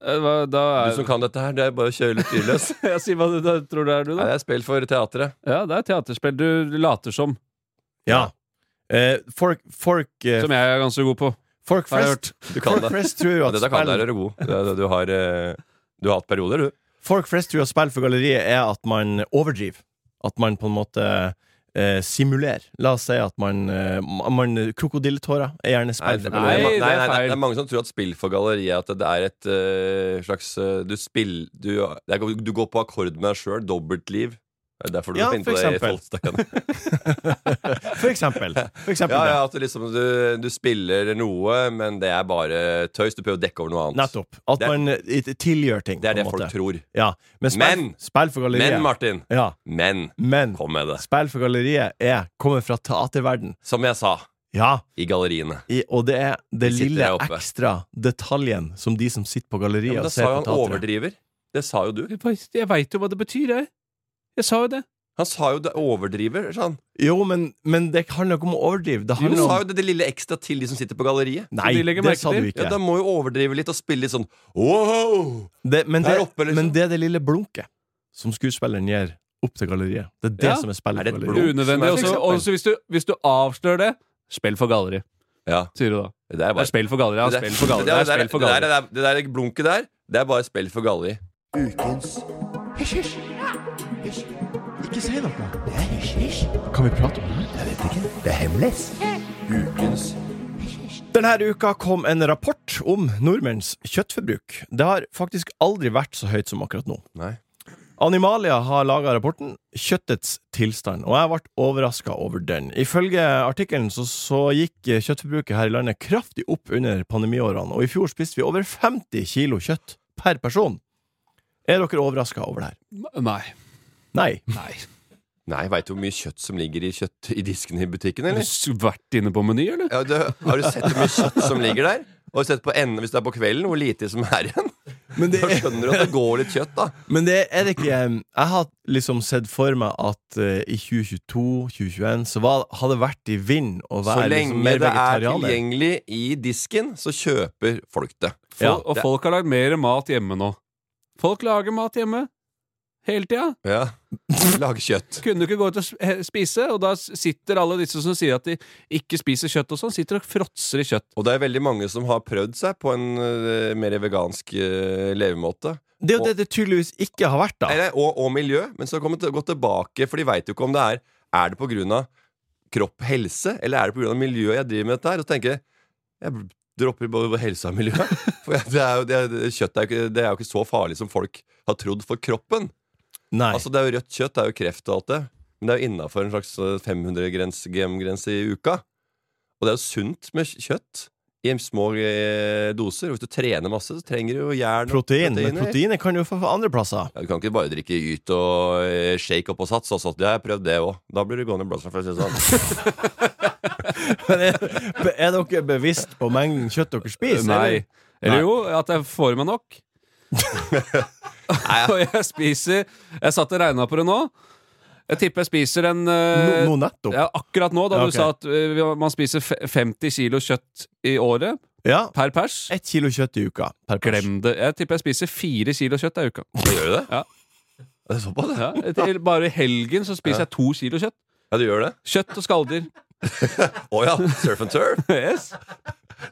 Eh, hva- Da Du er som kan dette her, det er bare å kjøre litt tydelig. ass. Jeg sier hva du da, tror det er, du, Nei, da. det er spill for teatret. Ja, det er teaterspill. Du later som. ja. Eh, folk folk, eh, Som jeg er ganske god på. folk har jeg flest Du kan Folk det. flest tror jo Ja, at dette kan spill deg være god. Det er det Du har, eh, du har hatt perioder, du. Folk flest tror at spill for galleriet er at man overdriver. At man på en måte eh, simulerer. La oss si at man, eh, man Krokodilletårer er gjerne spill for Nei, galleriet. det er feil. Det er mange som tror at spill for galleriet At det er et eh, slags eh, Du spill du, det er, du går på akkord med deg sjøl. Dobbeltliv. Det er derfor du Ja, må finne for på det i eksempel. Folkstakken. For eksempel. For eksempel Ja, det. ja, at du liksom du, du spiller noe, men det er bare tøys. Du prøver å dekke over noe annet. Nettopp. At Det er- man eh, it- tilgjør ting. Det er på en det folk måte. tror. Ja. Men spill, Men- spill for galleriet Men, Martin, ja. men Men kom med det. spill for galleriet er kommer fra teaterverden Som jeg sa, Ja. i galleriene. I, og det er det De sitter lille der oppe. ekstra detaljen som de som sitter på galleriet Ja, men og da ser sa jo på han teatret. overdriver. Det sa jo du. Jeg veit jo hva det betyr, jeg. Jeg sa jo det. Han sa jo det overdriver, sa han. Jo, men, men det handler ikke om å overdrive. Det Du handler sa om jo det, det lille ekstra til de som sitter på galleriet. Nei, de legger det merke sa du til. ikke. Ja, Da må jo overdrive litt og spille litt sånn wow! det, men, det, der oppe, liksom. men det er det lille blunket som skuespilleren gir opp til galleriet. Det er det Ja. som er spillet Er det på et galleriet. blunk? Unødvendig. For Også, eksempel. også hvis, du, hvis du avslører det, spill for galleri, Ja, sier du da. det der er Det bare er spill for galleri. Ja, Det der- spill for det galleri. Det der- er spill for det der- galleri. det der- Det der blunket der, det er bare spill for galleri. Ukens Hysj, hysj. Hysj. Ikke si noe. Det er hysj, hysj. Kan vi prate om det? Jeg vet ikke. Det er hemmelig. Ukens Denne uka kom en rapport om nordmenns kjøttforbruk. Det har faktisk aldri vært så høyt som akkurat nå. Nei. Animalia har laga rapporten 'Kjøttets tilstand', og jeg ble overraska over den. Ifølge artikkelen så, så gikk kjøttforbruket her i landet kraftig opp under pandemiårene, og i fjor spiste vi over 50 kilo kjøtt per person. Er dere overraska over det her? Nei. Nei. Nei. Nei, veit du hvor mye kjøtt som ligger i kjøtt i disken i butikken, Har du eller? s- vært inne på Meny, eller? Ja, du, har du sett hvor mye kjøtt som ligger der? Har du sett på enden, hvis det er på kvelden, hvor lite som er igjen? Men det, Da skjønner du at det går litt kjøtt, da. men det er det ikke um, Jeg har liksom sett for meg at eh, i 2022-2021 så var, hadde det vært i vind å Så være lenge liksom, mer det er vegetarianer. tilgjengelig i disken, så kjøper folk det. Fol Ja, og folk har lagd mer mat hjemme nå. Folk lager mat hjemme. Hele tida. Ja. Lag kjøtt. Kunne du ikke gå ut og s- he- spise, og da s- sitter alle disse som sier at de ikke spiser kjøtt og sånn, sitter og fråtser i kjøtt. Og det er veldig mange som har prøvd seg på en eh, mer vegansk eh, levemåte. Det er jo det det tydeligvis ikke har vært, da. Nei, nei, og, og miljø, men så kommer det gå tilbake, for de veit jo ikke om det er Er det på grunn av kropp, helse, eller er det på grunn av miljøet jeg driver med dette her? Og så tenker jeg Jeg dropper både helse og miljø. For jeg, det er jo, det, er- kjøtt er jo, ikke, det er jo ikke så farlig som folk har trodd for kroppen. Nei. Altså, det er jo rødt kjøtt, det er jo kreft og alt det. Men det er jo innafor en slags 500-grense i uka. Og det er jo sunt med kj- kjøtt i små eh, doser. Og hvis du trener masse, så trenger du jo jern. og Protein, men proteiner. proteiner kan jo få fra andre plasser. Ja, du kan ikke bare drikke yt og eh, shake opp og sats. Og sånt. Det har jeg prøvd, det òg. Da blir du gående i blåsa. for å si det sånn. Men er, er dere bevisst på mengden kjøtt dere spiser? Nei. eller? Eller Nei. jo, at jeg får i meg nok. og jeg spiser Jeg satt og regna på det nå. Jeg tipper jeg spiser en eh, Nå, nå nettopp. Ja. ja, Akkurat nå, da Ja, ok. du sa at eh, vi- man spiser fe- 50 kilo kjøtt i året per pers. Ett kilo kjøtt i uka per pers. Glem det. Jeg tipper jeg spiser fire kilo kjøtt i uka. Gjør du det? Ja. Er det såpass? Ja, til- bare i helgen så spiser jeg to kilo kjøtt. Ja, du gjør det? Kjøtt og skalldyr. Å ja. Surf and turf. Yes.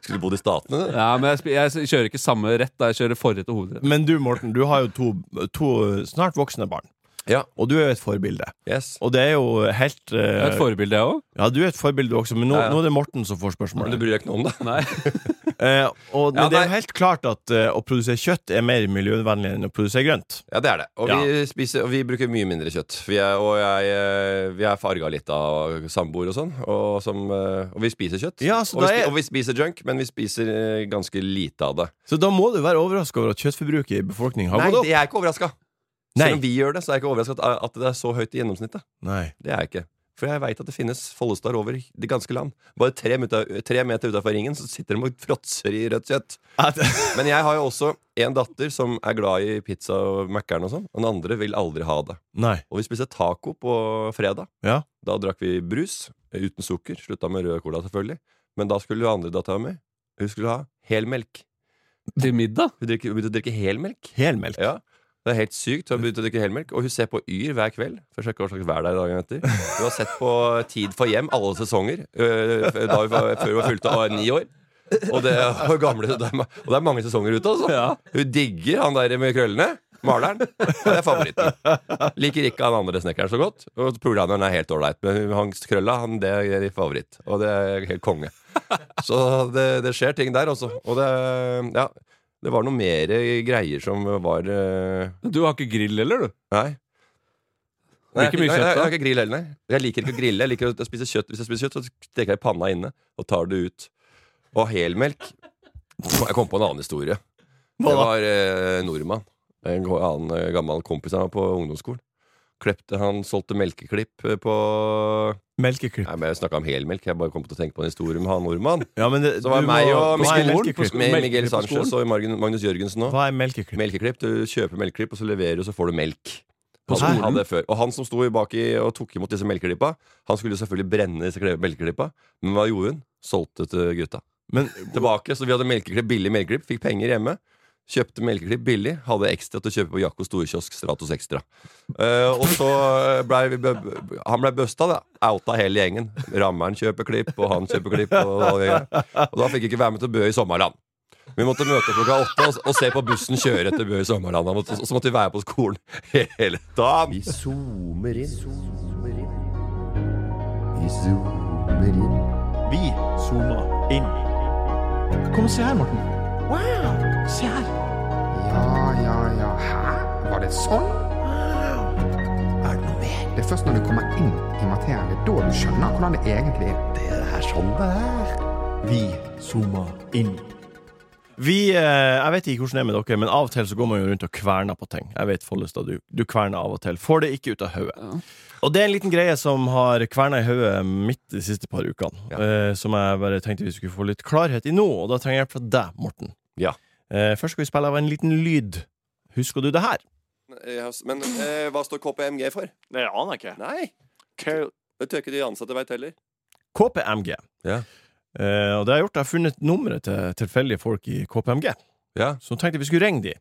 Skulle du bodd i Statene, du. Ja, men jeg, spi- jeg kjører ikke samme rett da jeg kjører forrett og hovedrett. Men du, Morten, du har jo to, to snart voksne barn. Ja. Og du er jo et forbilde. Yes. Og det er jo helt Det er eh, et forbilde, jeg òg. Ja, du er et forbilde også, men nå, Ja, ja. nå er det Morten som får Men spørsmålet. du bryr deg ikke noe om det? Nei. Eh, og, men Ja, det er jo nei. helt klart at eh, å produsere kjøtt er mer miljøvennlig enn å produsere grønt. Ja, det er det. Og, Ja. vi, spiser, og vi bruker mye mindre kjøtt. Vi er, og jeg, eh, vi er farga litt av samboer og sånn. Og, som, eh, og vi spiser kjøtt. Ja, så og, vi da er- spi- og vi spiser junk, men vi spiser eh, ganske lite av det. Så da må du være overraska over at kjøttforbruket i befolkningen har Nei, gått opp. jeg er ikke overraska. Nei. Selv om vi gjør det, så er jeg ikke overraska at, at det er så høyt i gjennomsnittet. Nei. Det er jeg ikke. For jeg veit at det finnes Follestad over det ganske land. Bare tre meter, tre meter utafor ringen så sitter de og fråtser i rødt kjøtt. At, Men jeg har jo også en datter som er glad i pizza og Mækkern og sånn. Og den andre vil aldri ha det. nei. Og vi spiste taco på fredag. Ja. Da drakk vi brus eh, uten sukker. Slutta med rød cola, selvfølgelig. Men da skulle jo andre dattera mi Hun skulle ha helmelk. Til middag? Hun drikker- hun begynte å drikke helmelk. Helmelk. Ja. Det er helt sykt. Hun har begynt å drikke helmelk. Og hun ser på Yr hver kveld. For å sjekke hva slags vær det er dagen etter. Hun har sett på Tid for hjem alle sesonger øh, f- da hun var, før hun fylte av ni år. Og det, og, gamle, det er, ma- og det er mange sesonger ute, altså. Ja. Hun digger han der med krøllene. Maleren. Det er favoritten. Liker ikke han andre snekkeren så godt. Og pulehandelen er helt ålreit. Men hans krølla, han, det er favoritt. Og det er helt konge. Så det, det skjer ting der også. Og det, ja, det var noe mer greier som var eh, Du har ikke grill heller, du. Nei. Nei, Blir ikke mye jeg- kjøtt, jeg, jeg, da? har ikke grill heller, nei. Jeg liker ikke å grille. Jeg liker å spise kjøtt Hvis jeg spiser kjøtt, så steker jeg panna inne og tar det ut. Og helmelk Jeg kom på en annen historie. Det Hva da? var eh, nordmann. En go- annen eh, gammel kompis av meg på ungdomsskolen. Klepte, han solgte melkeklipp eh, på Melkeklipp. Nei, men Jeg snakka om helmelk. Jeg bare kom til å tenke på en historie med han nordmannen. Ja, men det, Så var du det meg må- og Hva er Miguel, melkeklipp? med Melkeklipp Miguel på Sanchez og Margen- Magnus Jørgensen òg. Hva er melkeklipp? Melkeklipp. Du kjøper melkeklipp, og så leverer du, så får du melk. På Han skolen? hadde det før. Og han som sto i baki og tok imot disse melkeklippa, han skulle jo selvfølgelig brenne disse kle- melkeklippa, men hva gjorde hun? Solgte til gutta. Men Tilbake, så vi hadde melkeklipp, billig melkeklipp, fikk penger hjemme. Kjøpte melkeklipp billig, hadde ekstra til å kjøpe på Jakko storkiosk Stratos Extra. Eh, og så blei vi bø- bø- Han blei busta, da. Outa hele gjengen. Rammeren kjøper klipp, og han kjøper klipp. Og, og, og da fikk vi ikke være med til Bø i sommerland. Vi måtte møte klokka åtte og, og se på bussen kjøre etter Bø i sommerland. Og måtte- og så måtte vi være på skolen hele dagen. Vi zoomer inn. Zoomer inn. Vi zoomer inn. vi zooma inn. Kom og se her, Morten. Wow! Se her. Ja, ja, ja. Hæ? Var det sånn? Er det noe mer? Det er først når du kommer inn i materien, det er da du skjønner hvordan det egentlig er. Det er det her sånn det er. Vi zooma inn. Vi, eh, jeg vet ikke hvordan det er med dere, men av og til så går man jo rundt og kverner på ting. Jeg vet, Follestad, du, du kverner av og til. Får det ikke ut av hodet. Og det er en liten greie som har kverna i hodet mitt de siste par ukene. Ja. Eh, som jeg bare tenkte vi skulle få litt klarhet i nå, og da trenger jeg hjelp fra deg, Morten. Ja. Eh, først skal vi spille av en liten lyd. Husker du det her? Men eh, hva står KPMG for? Det aner jeg ikke. Nei, Hva- det tør ikke de ansatte veit heller. KPMG. Ja. Eh, og det jeg har gjort, jeg har funnet nummeret til tilfeldige folk i KPMG. Ja. Så tenkte jeg vi skulle ringe de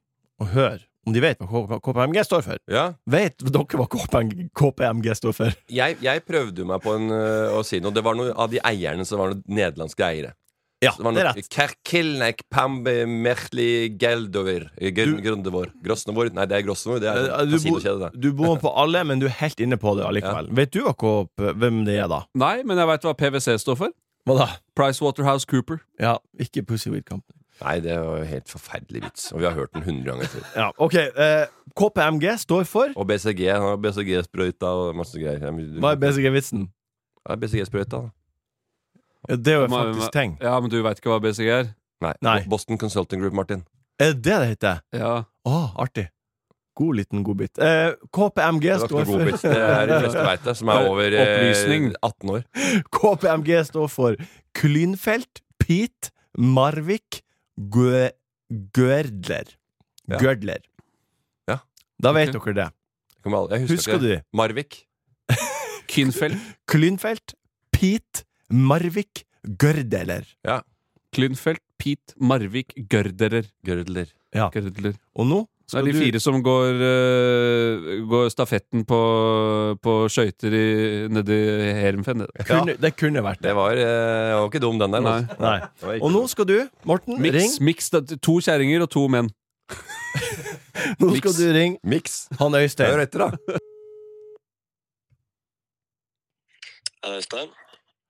og høre om de vet hva K- KPMG står for. Ja, Vet dere hva KPMG, KPMG står for? jeg, jeg prøvde jo meg på en, øh, å si noe. Det var noe av de eierne som var noen nederlandske eiere. Ja, Så det var det noe er rett. Kerkilnek, Pambe, Merli, Geldover eh, Du- Grundevor Grosnevor. Nei, det er Grosnevor. Det er Eh, en Du, bo, kasinokjede, det. du bor på alle, men du er helt inne på det allikevel. Vet du hva KP, hvem det er, da? Nei, men jeg veit hva PwC står for. Hva da? Pricewaterhouse Cooper. Ja, ikke Pussy Weed Company. Nei, det var jo helt forferdelig vits. Og vi har hørt den hundre ganger før. Ja, ok. Eh, KPMG står for Og BCG. Han har BCG-sprøyta og masse greier. Ja, men du- Hva er BCG-vitsen? Ja, BCG-sprøyta, da. Ja, det er jo Hva- faktisk ting. Ja, men du veit ikke hva BCG er? Nei. Nei. Boston Consulting Group, Martin. Er det det det heter? Ja. Å, artig. God liten godbit. Eh, KPMG Det var ikke står noe god for vits. Det er de fleste veit det, som er over eh, Opplysning. 18 år. KPMG står for Klynfelt, Pete, Marvik, Gø Gørdler. Ja. Gørdler. Ja. Da vet Ok. dere det. Jeg kommer aldri- Jeg husker, Husker ikke du det. de? Marvik. Kinfeld. Klynfelt, Pete, Marvik, Gørdeler. Klynfelt. Pete. Marvik. Gørderer. Gørdler. Gørdler. Og nå Det er skal de du fire som går, eh, går stafetten på, på skøyter i- nedi Hermfen. det. kunne, Det kunne vært det. Det var, eh, var ikke dum, den der. Nei. altså. Nei. Det var ikke Og nå dum. skal du, Morten, ring. Mix, mix, da- to kjerringer og to menn. Nå mix. skal du ringe Mix. han Hør Øystein. etter, da. Er det Øystein?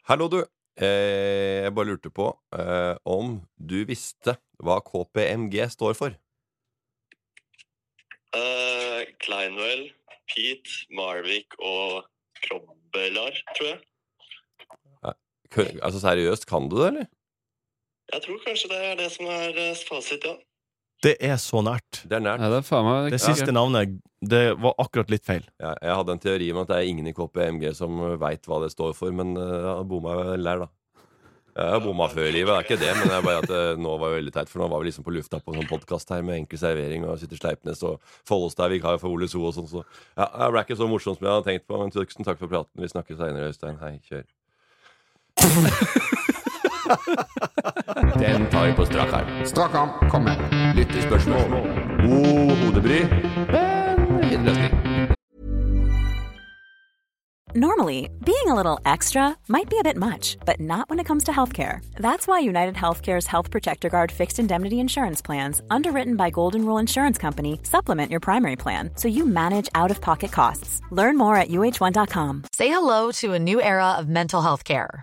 Hallo, du. Eh, jeg bare lurte på eh, om du visste hva KPMG står for. Eh, Kleinwell, Pete, Marvik og Krobbelar, tror jeg. Kø- Altså Seriøst, kan du det, eller? Jeg tror kanskje det er det som er eh, fasit, ja. Det er så nært. Det er nært. Ja, det er faen meg Det siste navnet det var akkurat litt feil. Ja, jeg hadde en teori om at det er ingen i KPMG som veit hva det står for, men eh, jeg bomma lær, da. Jeg har bomma før i livet, det er ikke det, men det er bare at eh, nå var det veldig teit. For nå var vi liksom på lufta på en sånn podkast her med enkel servering, og sitter Sleipnes og Follestad er vikar for Ole So og sånn, så ja, Det ble ikke så morsomt som jeg hadde tenkt på, men tusen takk for praten. Vi snakkes seinere, Øystein. Hei, kjør. Den tar vi på strak arm. Strak arm, kom med. Lytt til spørsmål. God hodebry, men fin løsning. Normally, being a little extra might be a bit much, but not when it comes to healthcare. That's why United Healthcare's Health Protector Guard fixed indemnity insurance plans, underwritten by Golden Rule Insurance Company, supplement your primary plan so you manage out of pocket costs. Learn more at uh1.com. Say hello to a new era of mental health care.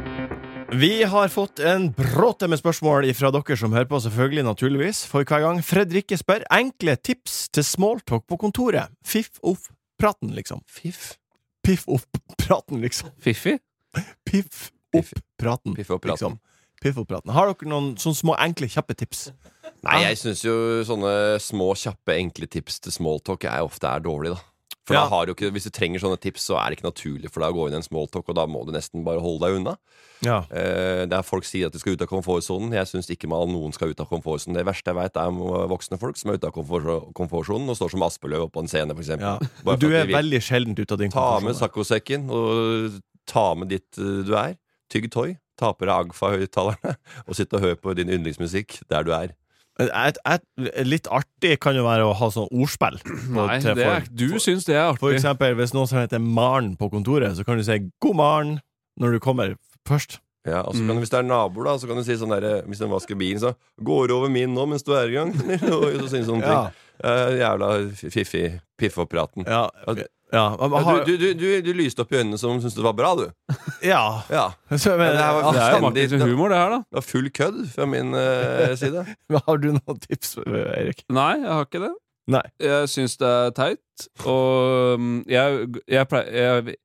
Vi har fått en bråte med spørsmål fra dere som hører på, selvfølgelig, naturligvis, for hver gang Fredrikke spør enkle tips til smalltalk på kontoret. Fiff-off-praten, liksom. Fiff? Piff-off-praten, liksom. Fiffi? Piff-opp-praten, Piff opp praten. liksom. Piff-opp-praten. Har dere noen sånne små, enkle, kjappe tips? Nei, jeg syns jo sånne små, kjappe, enkle tips til smalltalk er ofte er dårlig, da. For Ja. da har du ikke, Hvis du trenger sånne tips, så er det ikke naturlig for deg å gå inn i en smalltalk, og da må du nesten bare holde deg unna. Ja. Eh, der folk sier at de skal ut av komfortsonen. Jeg syns ikke man, noen skal ut av komfortsonen. Det verste jeg veit, er om, eh, voksne folk som er ute av komfort- komfortsonen og står som Aspeløv oppå en scene, f.eks. ja. Du er veldig sjeldent ute av din Ta med komfortsone. saccosekken og ta med dit eh, du er. Tygg toy. Ta på deg Agfa-høyttalerne og sitt og hør på din yndlingsmusikk der du er. Et- et- Litt artig kan jo være å ha sånn ordspill. på- Nei, til det er, folk. du syns det er For artig. eksempel, hvis noen som heter Maren på kontoret, så kan du si 'god morgen' når du kommer først. Ja, og så Mm. kan, du- Hvis det er naboer, da, så kan du si sånn der, eh, Hvis de vasker bilen, så 'Går du over min nå mens du er i gang?' og så sier sånne Ja. ting. Eh, jævla fiffig piff-opp-praten. Ja, Altså- ja, man Ja, har, du, du, du, du lyste opp i øynene som om du syntes det var bra, du. ja. Ja. Så, Men men, det her var, Det er jo fullstendig- Martins humor, det her, da. det var full kødd fra min eh, side. har du noen tips, Erik? Nei, jeg har ikke det. Nei. Jeg syns det er teit, og mm, jeg, jeg pleier jeg,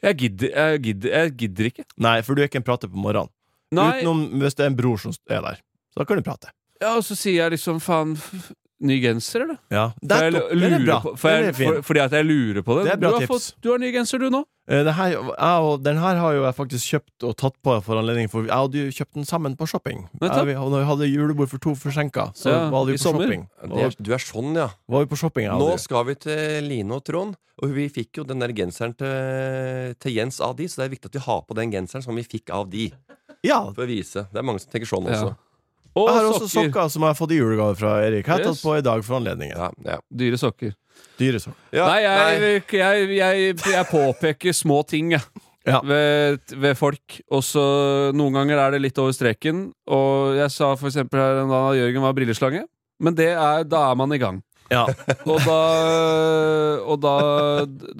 jeg, gidder, jeg, gidder, jeg gidder ikke. Nei, for du er ikke en prater på morgenen. Nei, Utenom hvis det er en bror som er der. Så da kan du prate. ja, og så sier jeg liksom faen f- Ny genser, eller? Ja, For jeg Nettopp. lu- Den er bra. lurer på, for Den jeg, er fin. for, fordi at jeg lurer på det. Det er bra du, har tips. fått, du har ny genser, du nå? Eh, det her, ja, og den her har jo jeg faktisk kjøpt og tatt på for anledning, for jeg og du kjøpte den sammen på shopping. Nettopp. Ja, vi, og når vi hadde julebord for to forsinka, så Ja, var, i vi på sommer. shopping. Det er, du er sånn, ja. var vi på shopping. jeg og Nå du. skal vi til Line og Trond, og vi fikk jo den der genseren til, til Jens av de, så det er viktig at vi har på den genseren som vi fikk av de. Ja, For å vise. Det er mange som tenker sånn også. Ja. Og Jeg har sokker. også sokker som jeg har fått i julegave fra Erik. Jeg har tatt Yes. på i dag for anledningen. Ja, ja. Dyre sokker. Dyre sokker. Ja, nei, jeg, jeg, jeg, jeg påpeker små ting, jeg. Ja. Ved, ved folk. Og så noen ganger er det litt over streken. Og jeg sa for eksempel her en dag at Jørgen var brilleslange. Men det er, da er man i gang. Ja. Og da Og, da,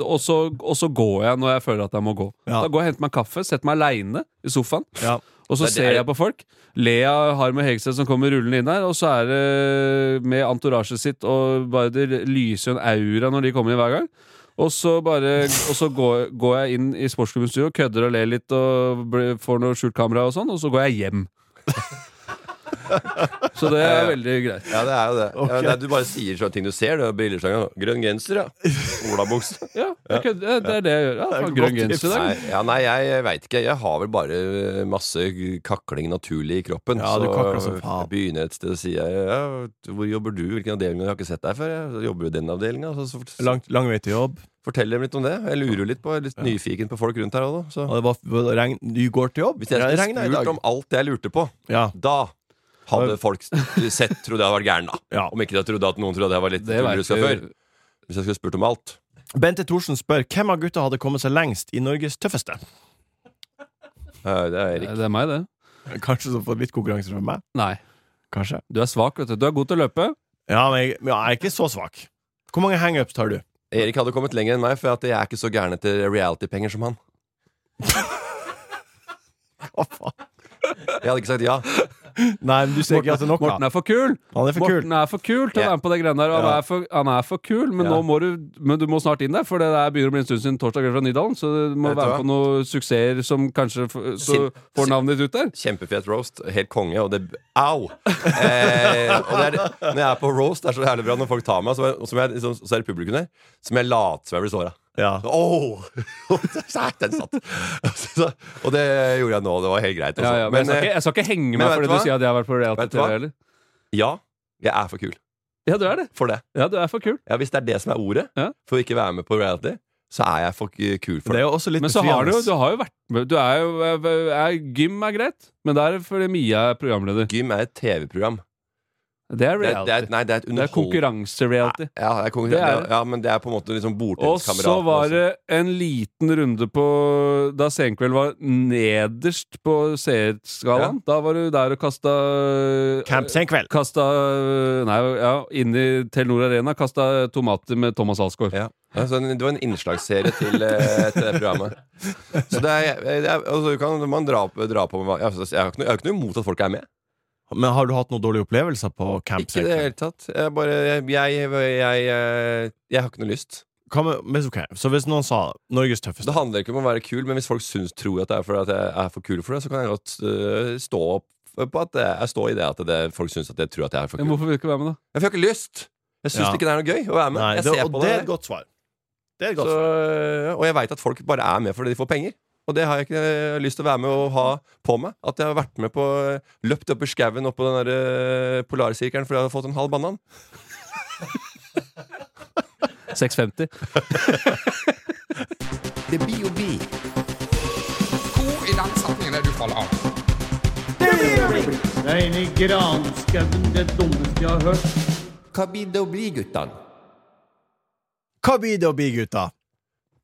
og, så, og så går jeg når jeg føler at jeg må gå. Ja. Da går jeg og henter meg kaffe, setter meg aleine i sofaen. Ja. Og så Det er- ser jeg på folk. Lea har med Hegseth som kommer rullende inn der, og så er det med entourasjet sitt, og bare det lyser jo en aura når de kommer inn hver gang. Og så, bare, og så går, går jeg inn i sportsklubbens studio, kødder og ler litt og blir- får noe skjult kamera og sånn, og så går jeg hjem. Så det er veldig greit. Ja, det er jo det. Ok. Ja, det er, du bare sier sånne ting du ser. det er Brilleslanga. Grønn genser, ja. Olabukse. Ja, jeg kødder, det er det jeg gjør. Ja, er faen, et godt grønn genser i dag. Nei, ja, nei, jeg veit ikke. Jeg har vel bare eh, masse kakling naturlig i kroppen. Ja, du kakler som så faen. jeg begynner et sted og sier ja, 'Hvor jobber du? Hvilken avdeling?' Jeg har ikke sett deg før. Jeg Så jobber du i den avdelinga. Så, så, så Lang, lang vei til jobb. fortell dem litt om det. Jeg lurer jo litt på, jeg er litt nyfiken på folk rundt her òg, så Og det var, var regn, du går til jobb. Hvis jeg Ja, det skulle regnet i dag. spurt om alt jeg lurte på, Ja. da hadde folk sett trodde jeg hadde vært gæren, da. Ja. Om ikke de trodde at noen trodde jeg var litt Det vet tulleruska før. du. Hvis jeg skulle spurt om alt. Bente Thorsen spør hvem av gutta hadde kommet seg lengst i Norges tøffeste. Eh, Det er Erik. Det er meg, det. Kanskje som får litt konkurranse fra meg. Nei. Kanskje. Du er svak, vet du. Du er god til å løpe. Ja, men jeg, men jeg er ikke så svak. Hvor mange hangups tar du? Erik hadde kommet lenger enn meg, for at jeg er ikke så gæren etter reality-penger som han. Hva faen? Jeg hadde ikke sagt ja. Nei, men du ser ikke at det er nok. Morten Da. er for kul! Han er for kul. Morten er for kul til å Ja. være med på det greiene der. og Han, Ja. er, for, han er for kul, men Ja. nå må du Men du må snart inn der, for det der begynner å bli en stund siden torsdag kveld fra Nydalen. Så du må Vet du være hva? med på noen suksesser som kanskje f så Sin- får navnet ditt ut der. Kjempefet roast. Helt konge, og det Au! Eh, og det er, når jeg er på roast, det er så jævlig bra når folk tar meg, så, og som jeg, liksom, så er det publikum der, som jeg later som jeg blir såra. Ja. Åh! Der, den satt! Så- og det gjorde jeg nå. Det var helt greit. altså. Ja, ja, men jeg, skal eh, ikke, jeg skal ikke henge men meg vet fordi du du hva? sier at jeg har vært på Vet du reality-TV. hva? eller? eh, ja, jeg er for kul Ja, du er det. for det. Ja, du er for kul. Ja, hvis det er det som er ordet Ja. for å ikke være med på reality, så er jeg for k- kul for Det er det. jo også litt Men så har du, befriende. jo- du har jo vært med Du er jo er- er, Gym er greit, men det er fordi Mia er programleder. Gym er et TV-program. Det er Det, er- reality. det, er- nei, det er et Det er underhold... konkurranse-reality. Ja, det er konkurran- Det er det. ja, men det er på en måte liksom Og bordtenniskameratene så var også. det en liten runde på Da Senkveld var nederst på seerskalaen. Da var du der og kasta Camp Senkveld. Kasta eh, Nei, ja, inn i Telenor Arena. Kasta tomater med Thomas Alsgaard. Ja. Ja, så det var en innslagsserie til, eh, til det programmet. Så det er, det er altså, kan man dra, på- dra på med hva- altså, Jeg har ikke noe- jeg har ikke noe imot at folk er med. Men har du hatt noen dårlige opplevelser på Camp Ikke i det Senkveld? hele tatt. Jeg, bare, jeg, jeg, jeg, eh, jeg har ikke noe lyst. Hva med- men ok, Så hvis noen sa Norges Det tøffeste handler ikke om å være kul, men hvis folk syns, tror at, det er for, at jeg er for kul for det, så kan jeg godt eh, stå opp på at jeg, jeg står i det at det, folk syns at jeg tror at jeg er for Men kul. hvorfor vil du ikke være med, da? Ja, for Jeg får ikke lyst! Jeg syns Ja. ikke det er noe gøy å være med. Nei, jeg det, ser og på det det. er et godt svar. Det er et godt Så, svar. og jeg veit at folk bare er med fordi de får penger. Og det har jeg ikke eh, lyst til å være med og ha på meg. At jeg har vært med på eh, løpt opp i skauen oppå den der eh, polarsirkelen fordi jeg hadde fått en halv banan. 650. Det blir jo vi. Hvor i den setningen er det du faller av? Det er inne i granskauen det dummeste jeg har hørt. Hva blir det å bli, guttan? Hva blir det å bli, gutta?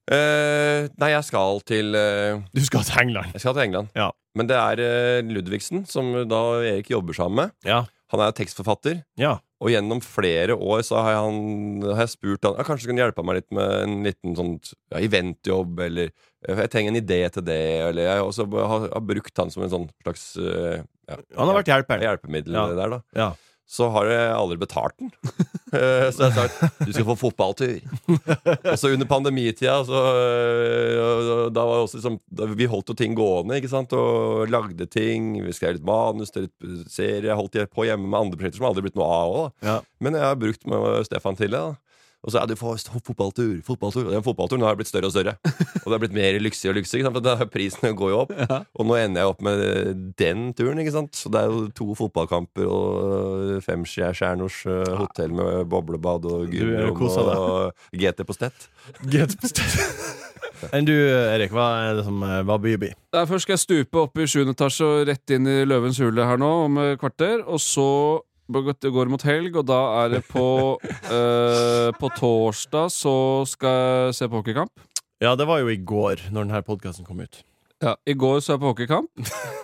Eh, nei, jeg skal til eh, Du skal til England. Jeg skal til England. Ja. Men det er eh, Ludvigsen, som da Erik jobber sammen med. Ja. Han er tekstforfatter. Ja. Og gjennom flere år så har, han, har jeg spurt han ja, Kanskje du kan hjelpe meg litt med en liten sånn ja, eventjobb, eller eh, Jeg trenger en idé til det, eller jeg også har, har brukt han som en sånn slags eh, ja, Han har vært hjelperen. hjelpemiddel Ja. der, da. Ja. Så har jeg aldri betalt den. Eh, så jeg har sagt du skal få fotballtur. og så under pandemitida, så eh, og da var det også liksom da, Vi holdt jo ting gående, ikke sant, og lagde ting. Vi skrev litt manus til litt serie. Jeg holdt på hjemme med andre prosjekter som aldri blitt noe av òg, da. Ja. Men jeg har brukt med Stefan til det. da. Og så er det for- fotballtur, fotballtur. Og den fotballturen har blitt større og større. Og det har blitt mer lyksig og lyksig, ikke sant? for da- prisene går jo opp. Og nå ender jeg opp med den turen. ikke sant? Så det er jo to fotballkamper og femstjerners eh, hotell med boblebad og Du er gymrom kosa deg. og GT på stett. Get Enn du, Erik, hva er det som eh, Hva blir bli? Ja, Først skal jeg stupe opp i 7. etasje og rett inn i Løvens hule her nå om et kvarter. Og så går det mot helg, og da er det på eh, På torsdag så skal jeg se på hockeykamp. Ja, det var jo i går, når denne podkasten kom ut. Ja, I går så jeg på hockeykamp.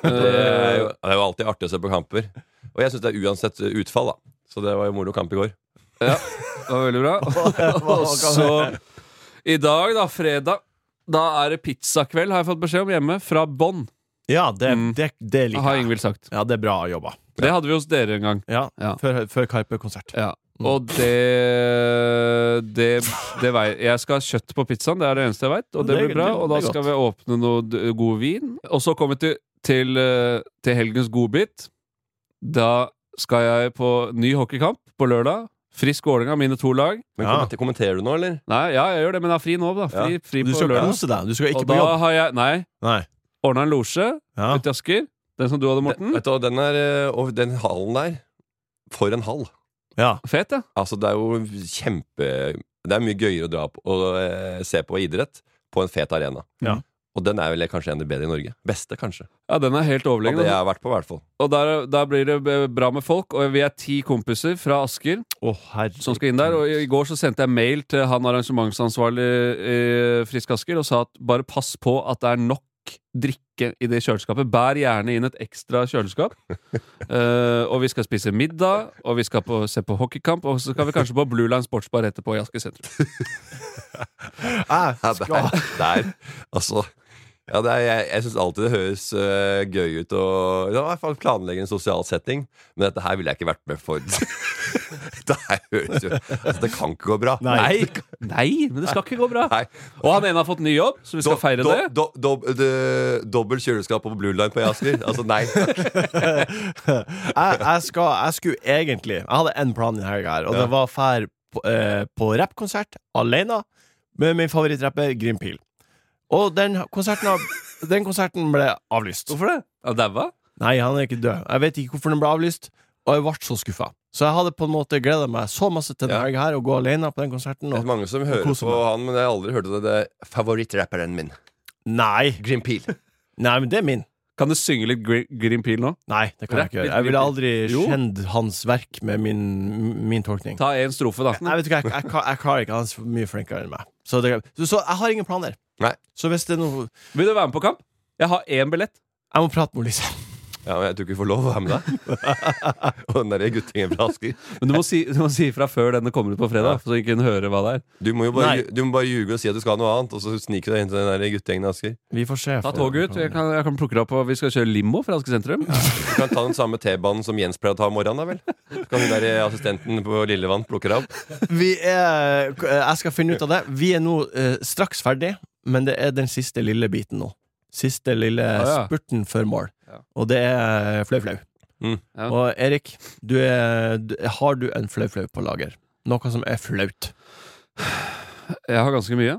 Det er, Eh, jo, det er jo alltid artig å se på kamper. Og jeg syns det er uansett eh, utfall, da. Så det var jo moro kamp i går. ja, det var veldig bra. Og så i dag, da, fredag, da er det pizzakveld, har jeg fått beskjed om hjemme, fra Bonn, Ja, det, Mm. det, det har liker jeg. Ingvild sagt. Ja, det er bra jobba. Det hadde vi hos dere en gang. Ja, Ja. Før, før Karpe-konsert. Ja. Og det, det, det vei, Jeg skal ha kjøtt på pizzaen, det er det eneste jeg veit. Og det Det er- blir bra. det- Og da det er skal godt. vi åpne noe d- god vin. Og så kommer vi til, til, eh, til helgens godbit. Da skal jeg på ny hockeykamp på lørdag. Frisk Vålerenga, mine to lag. Men Ja. kommenter- Kommenterer du nå, eller? Nei, ja, jeg gjør det, men jeg har fri nå, da. Fri, fri Du på skal lørdag. kose deg. Du skal Og ikke på da jobb. har jeg Nei, Nei. ordna en losje Ja. ute i Asker. Den som du hadde, Morten. Vet du, hva, den, er, eh, og den hallen der For en hall! ja. Fet, ja. Altså, det er jo kjempe Det er mye gøyere å dra på og eh, se på idrett på en fet arena. Ja. Og den er vel kanskje en av de bedre i Norge. Beste, kanskje. Ja, Den er helt Av det overlegen. jeg altså. har vært på, i hvert fall. Og der, der blir det eh, bra med folk. Og vi er ti kompiser fra Asker. Å, herregud. som skal inn der. Og i- i går så sendte jeg mail til han arrangementsansvarlig i Frisk Asker og sa at bare pass på at det er nok drikke i det kjøleskapet. Bær gjerne inn et ekstra kjøleskap. Eh, og vi skal spise middag, og vi skal på, se på hockeykamp, og så skal vi kanskje på Blue Line Sportsbar etterpå i Asker sentrum. Jeg Ja, skal der, der. Altså ja, det er, jeg jeg syns alltid det høres eh, gøy ut å ja, i hvert fall planlegge en sosial setting, men dette her ville jeg ikke vært med for. det her høres jo altså, Det kan ikke gå bra. Nei. Nei, men det skal ikke gå bra! Nei. Og han ene har fått ny jobb, så vi skal feire do, det. Do, do, det- dobbelt kjøleskap på Blue Line på Asker? Altså, nei. jeg, jeg, skal, jeg skulle egentlig Jeg hadde én plan denne helga, her, og Ja. det var å fære på, eh, på rappkonsert alene med min favorittrapper Grim Pil. Og den konserten, har- den konserten ble avlyst. Hvorfor det? Han daua? Nei, han er ikke død. Jeg vet ikke hvorfor den ble avlyst, og jeg ble så skuffa. Så jeg hadde på en måte gleda meg så masse til denne Ja. helga her, å gå alene på den konserten. Det er Og... mange som hører koser på han, men jeg har aldri hørt om det. det er Favorittrapperen min. Nei. Green Peel. Nei, men det er min. Kan du synge litt Gr- Green Peel nå? Nei, det kan jeg ikke gjøre. Jeg ville aldri kjent hans verk med min, min tolkning. Ta én strofe, da. Nei, vet du hva, jeg, jeg, kan- jeg klarer ikke. Han er så mye flinkere enn meg. Så, det, så, så jeg har ingen planer. Nei. Så hvis det er noe Vil du være med på kamp? Jeg har én billett. Jeg må prate med Lise. Ja, men Jeg tror ikke vi får lov å være med deg. Og den der guttingen fra Asker. Men du må si, du må si fra før denne kommer ut på fredag, så ikke hun hører hva det er. Du må jo bare, Nei. ju- du må bare ljuge og si at du skal ha noe annet, og så sniker du deg inn til den der guttegjengen i Asker. Vi får se. Ta for- toget ut. Jeg kan, jeg kan plukke deg opp, og vi skal kjøre limo fra Aske sentrum. Du kan ta den samme T-banen som Jens pleier å ta om morgenen, da vel? Så kan den der assistenten på Lillevann plukke deg opp. Vi er, jeg skal finne ut av det. Vi er nå eh, straks ferdig, men det er den siste lille biten nå. Siste lille ja. spurten før mål. Ja. Og det er flau-flau. Mm. Ja. Og Erik, du er, du- har du en flau-flau på lager? Noe som er flaut. Jeg har ganske mye.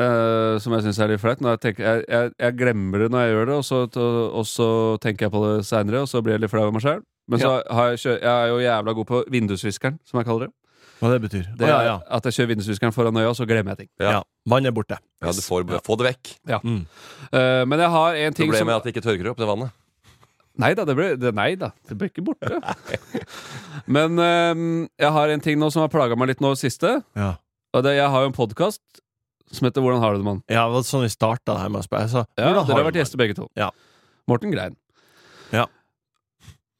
Eh, som jeg syns er litt flaut. Når Jeg, tenker- jeg, jeg, jeg glemmer det når jeg gjør det, og så, og så tenker jeg på det seinere, og så blir jeg litt flau over meg sjøl. Men så har jeg, kjø jeg er jo jævla god på vindusviskeren, som jeg kaller det. Hva det betyr? det Å, ja, er ja. At jeg kjører vindusviskeren foran øya, og så glemmer jeg ting. Ja. Vannet er borte. Mm. Ja, du får, få det vekk. Eh, men jeg har en ting Problemet som er at det ikke tørker opp, det vannet. Nei da, det ble, det, nei da, det ble ikke borte. Men ehm, jeg har en ting nå som har plaga meg litt nå siste. Ja. Og det, jeg har jo en podkast som heter Hvordan har du det, mann? Ja, det var sånn vi starta her med å spørre. Jeg sa, Ja, hvordan dere har du vært det? gjester begge to. Ja. Morten Grein. Ja.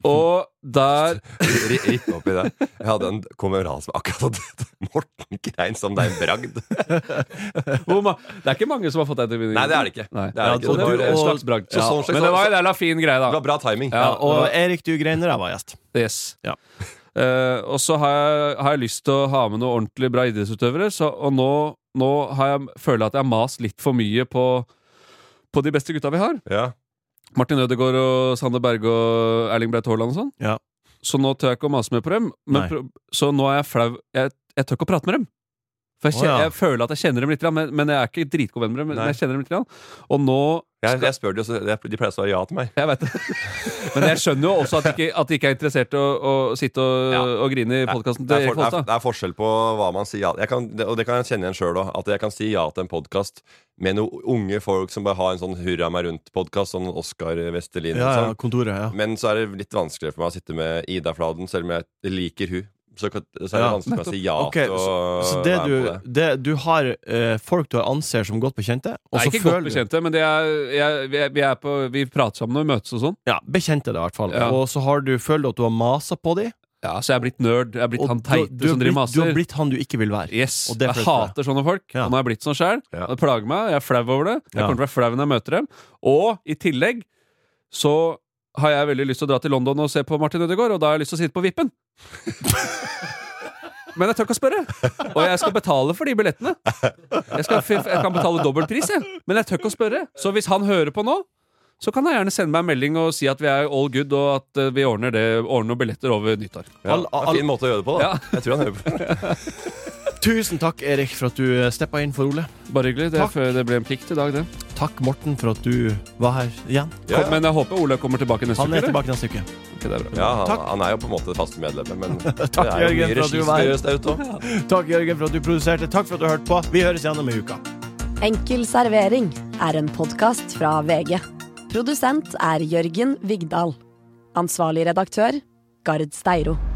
Og der Ri- Ripp opp i det. Jeg hadde en kamerat som akkurat hadde hett Morten Grein som det er en bragd. hvor ma Det er ikke mange som har fått deg til å vinne. Nei, det er det ikke. Nei. Det er det ikke. og Det var du- en og- slags bragd. Så sånn slags- Men det var en jævla fin greie, Det da. var bra timing. Ja, Ja, og Erik, du grein da jeg var gjest. Yes. Ja. Eh, og så har jeg, har jeg lyst til å ha med noen ordentlig bra idrettsutøvere, så, og nå, nå har jeg, føler jeg at jeg har mast litt for mye på, på de beste gutta vi har. Ja. Martin Ødegaard og Sander Berge og Erling Breit Haaland og sånn. Ja. Så nå tør jeg ikke å mase med på dem. Men Nei. pro så nå er jeg flau. Jeg, jeg tør ikke å prate med dem. For jeg, Å, kjen- ja. jeg føler at jeg kjenner dem litt, grann, men, men jeg er ikke dritgod venn med dem. Men Nei. jeg kjenner dem litt grann. Og nå Jeg, jeg spør de, også, de pleier å svare ja til meg. Jeg vet det. Men jeg skjønner jo også at de ikke, at de ikke er interessert i å, å sitte og, og grine i podkasten Det til er, Erik for, det, er, Folstad. det er forskjell på hva man sier ja jeg kan, det, Og det kan jeg kjenne igjen sjøl òg. At jeg kan si ja til en podkast med noen unge folk som bare har en sånn hurra meg rundt-podkast, sånn Oskar Ja, Vestelin. ja, og sånn. kontoret, ja. Men så er det litt vanskeligere for meg å sitte med Ida Fladen, selv om jeg liker hun Så, kan- så er det Ja, vanskelig for meg å si ja Ok, til å så, så det være du, med på det. det, du har eh, folk du anser som godt bekjente, og Nei, så ikke føler godt du bekjente, men det er, jeg, vi, er, vi, er på, vi prater sammen når vi møtes og sånn. Ja, bekjente det i hvert fall. Ja. Og så har du, føler du at du har masa på dem, Ja, så jeg er blitt nerd. Jeg er blitt og han du, teite du, har som driver blitt, du har maser. blitt han du ikke vil være. Yes, Og det Jeg følte jeg. hater sånne folk. Ja. Og nå er jeg blitt sånn sjæl. Ja. Det plager meg. Jeg er flau over det. Jeg Ja. kommer til å være flau når jeg møter dem. Og i tillegg så har jeg veldig lyst til å dra til London og se på Martin Ødegaard, og da har jeg lyst til å sitte på vippen. Men jeg tør ikke å spørre. Og jeg skal betale for de billettene. Jeg, skal, jeg kan betale dobbelt pris, jeg. Men jeg tør ikke å spørre. Så hvis han hører på nå, så kan han gjerne sende meg en melding og si at vi er all good, og at eh, vi ordner, det, ordner noen billetter over nyttår. Ja, All- det er en fin måte å gjøre det på, da. Ja. Jeg tror han hører på. Tusen takk, Erik, for at du eh, steppa inn for Ole. Bare hyggelig. Det, Takk. er- det ble en plikt i dag, det. Takk, Morten, for at du var her igjen. Ja, Men jeg håper Ole kommer tilbake neste Han uke. er eller? tilbake neste uke. Ok, det er bra. ja han, Takk. han er jo på en måte det faste medlemmet, men Takk, det er jo Jørgen, for mye at du regi som var skal her. gjøres der ute òg. Takk, Jørgen, for at du produserte. Takk for at du hørte på. Vi høres igjen om ei uke. Enkel servering er en podkast fra VG. Produsent er Jørgen Vigdal. Ansvarlig redaktør, Gard Steiro.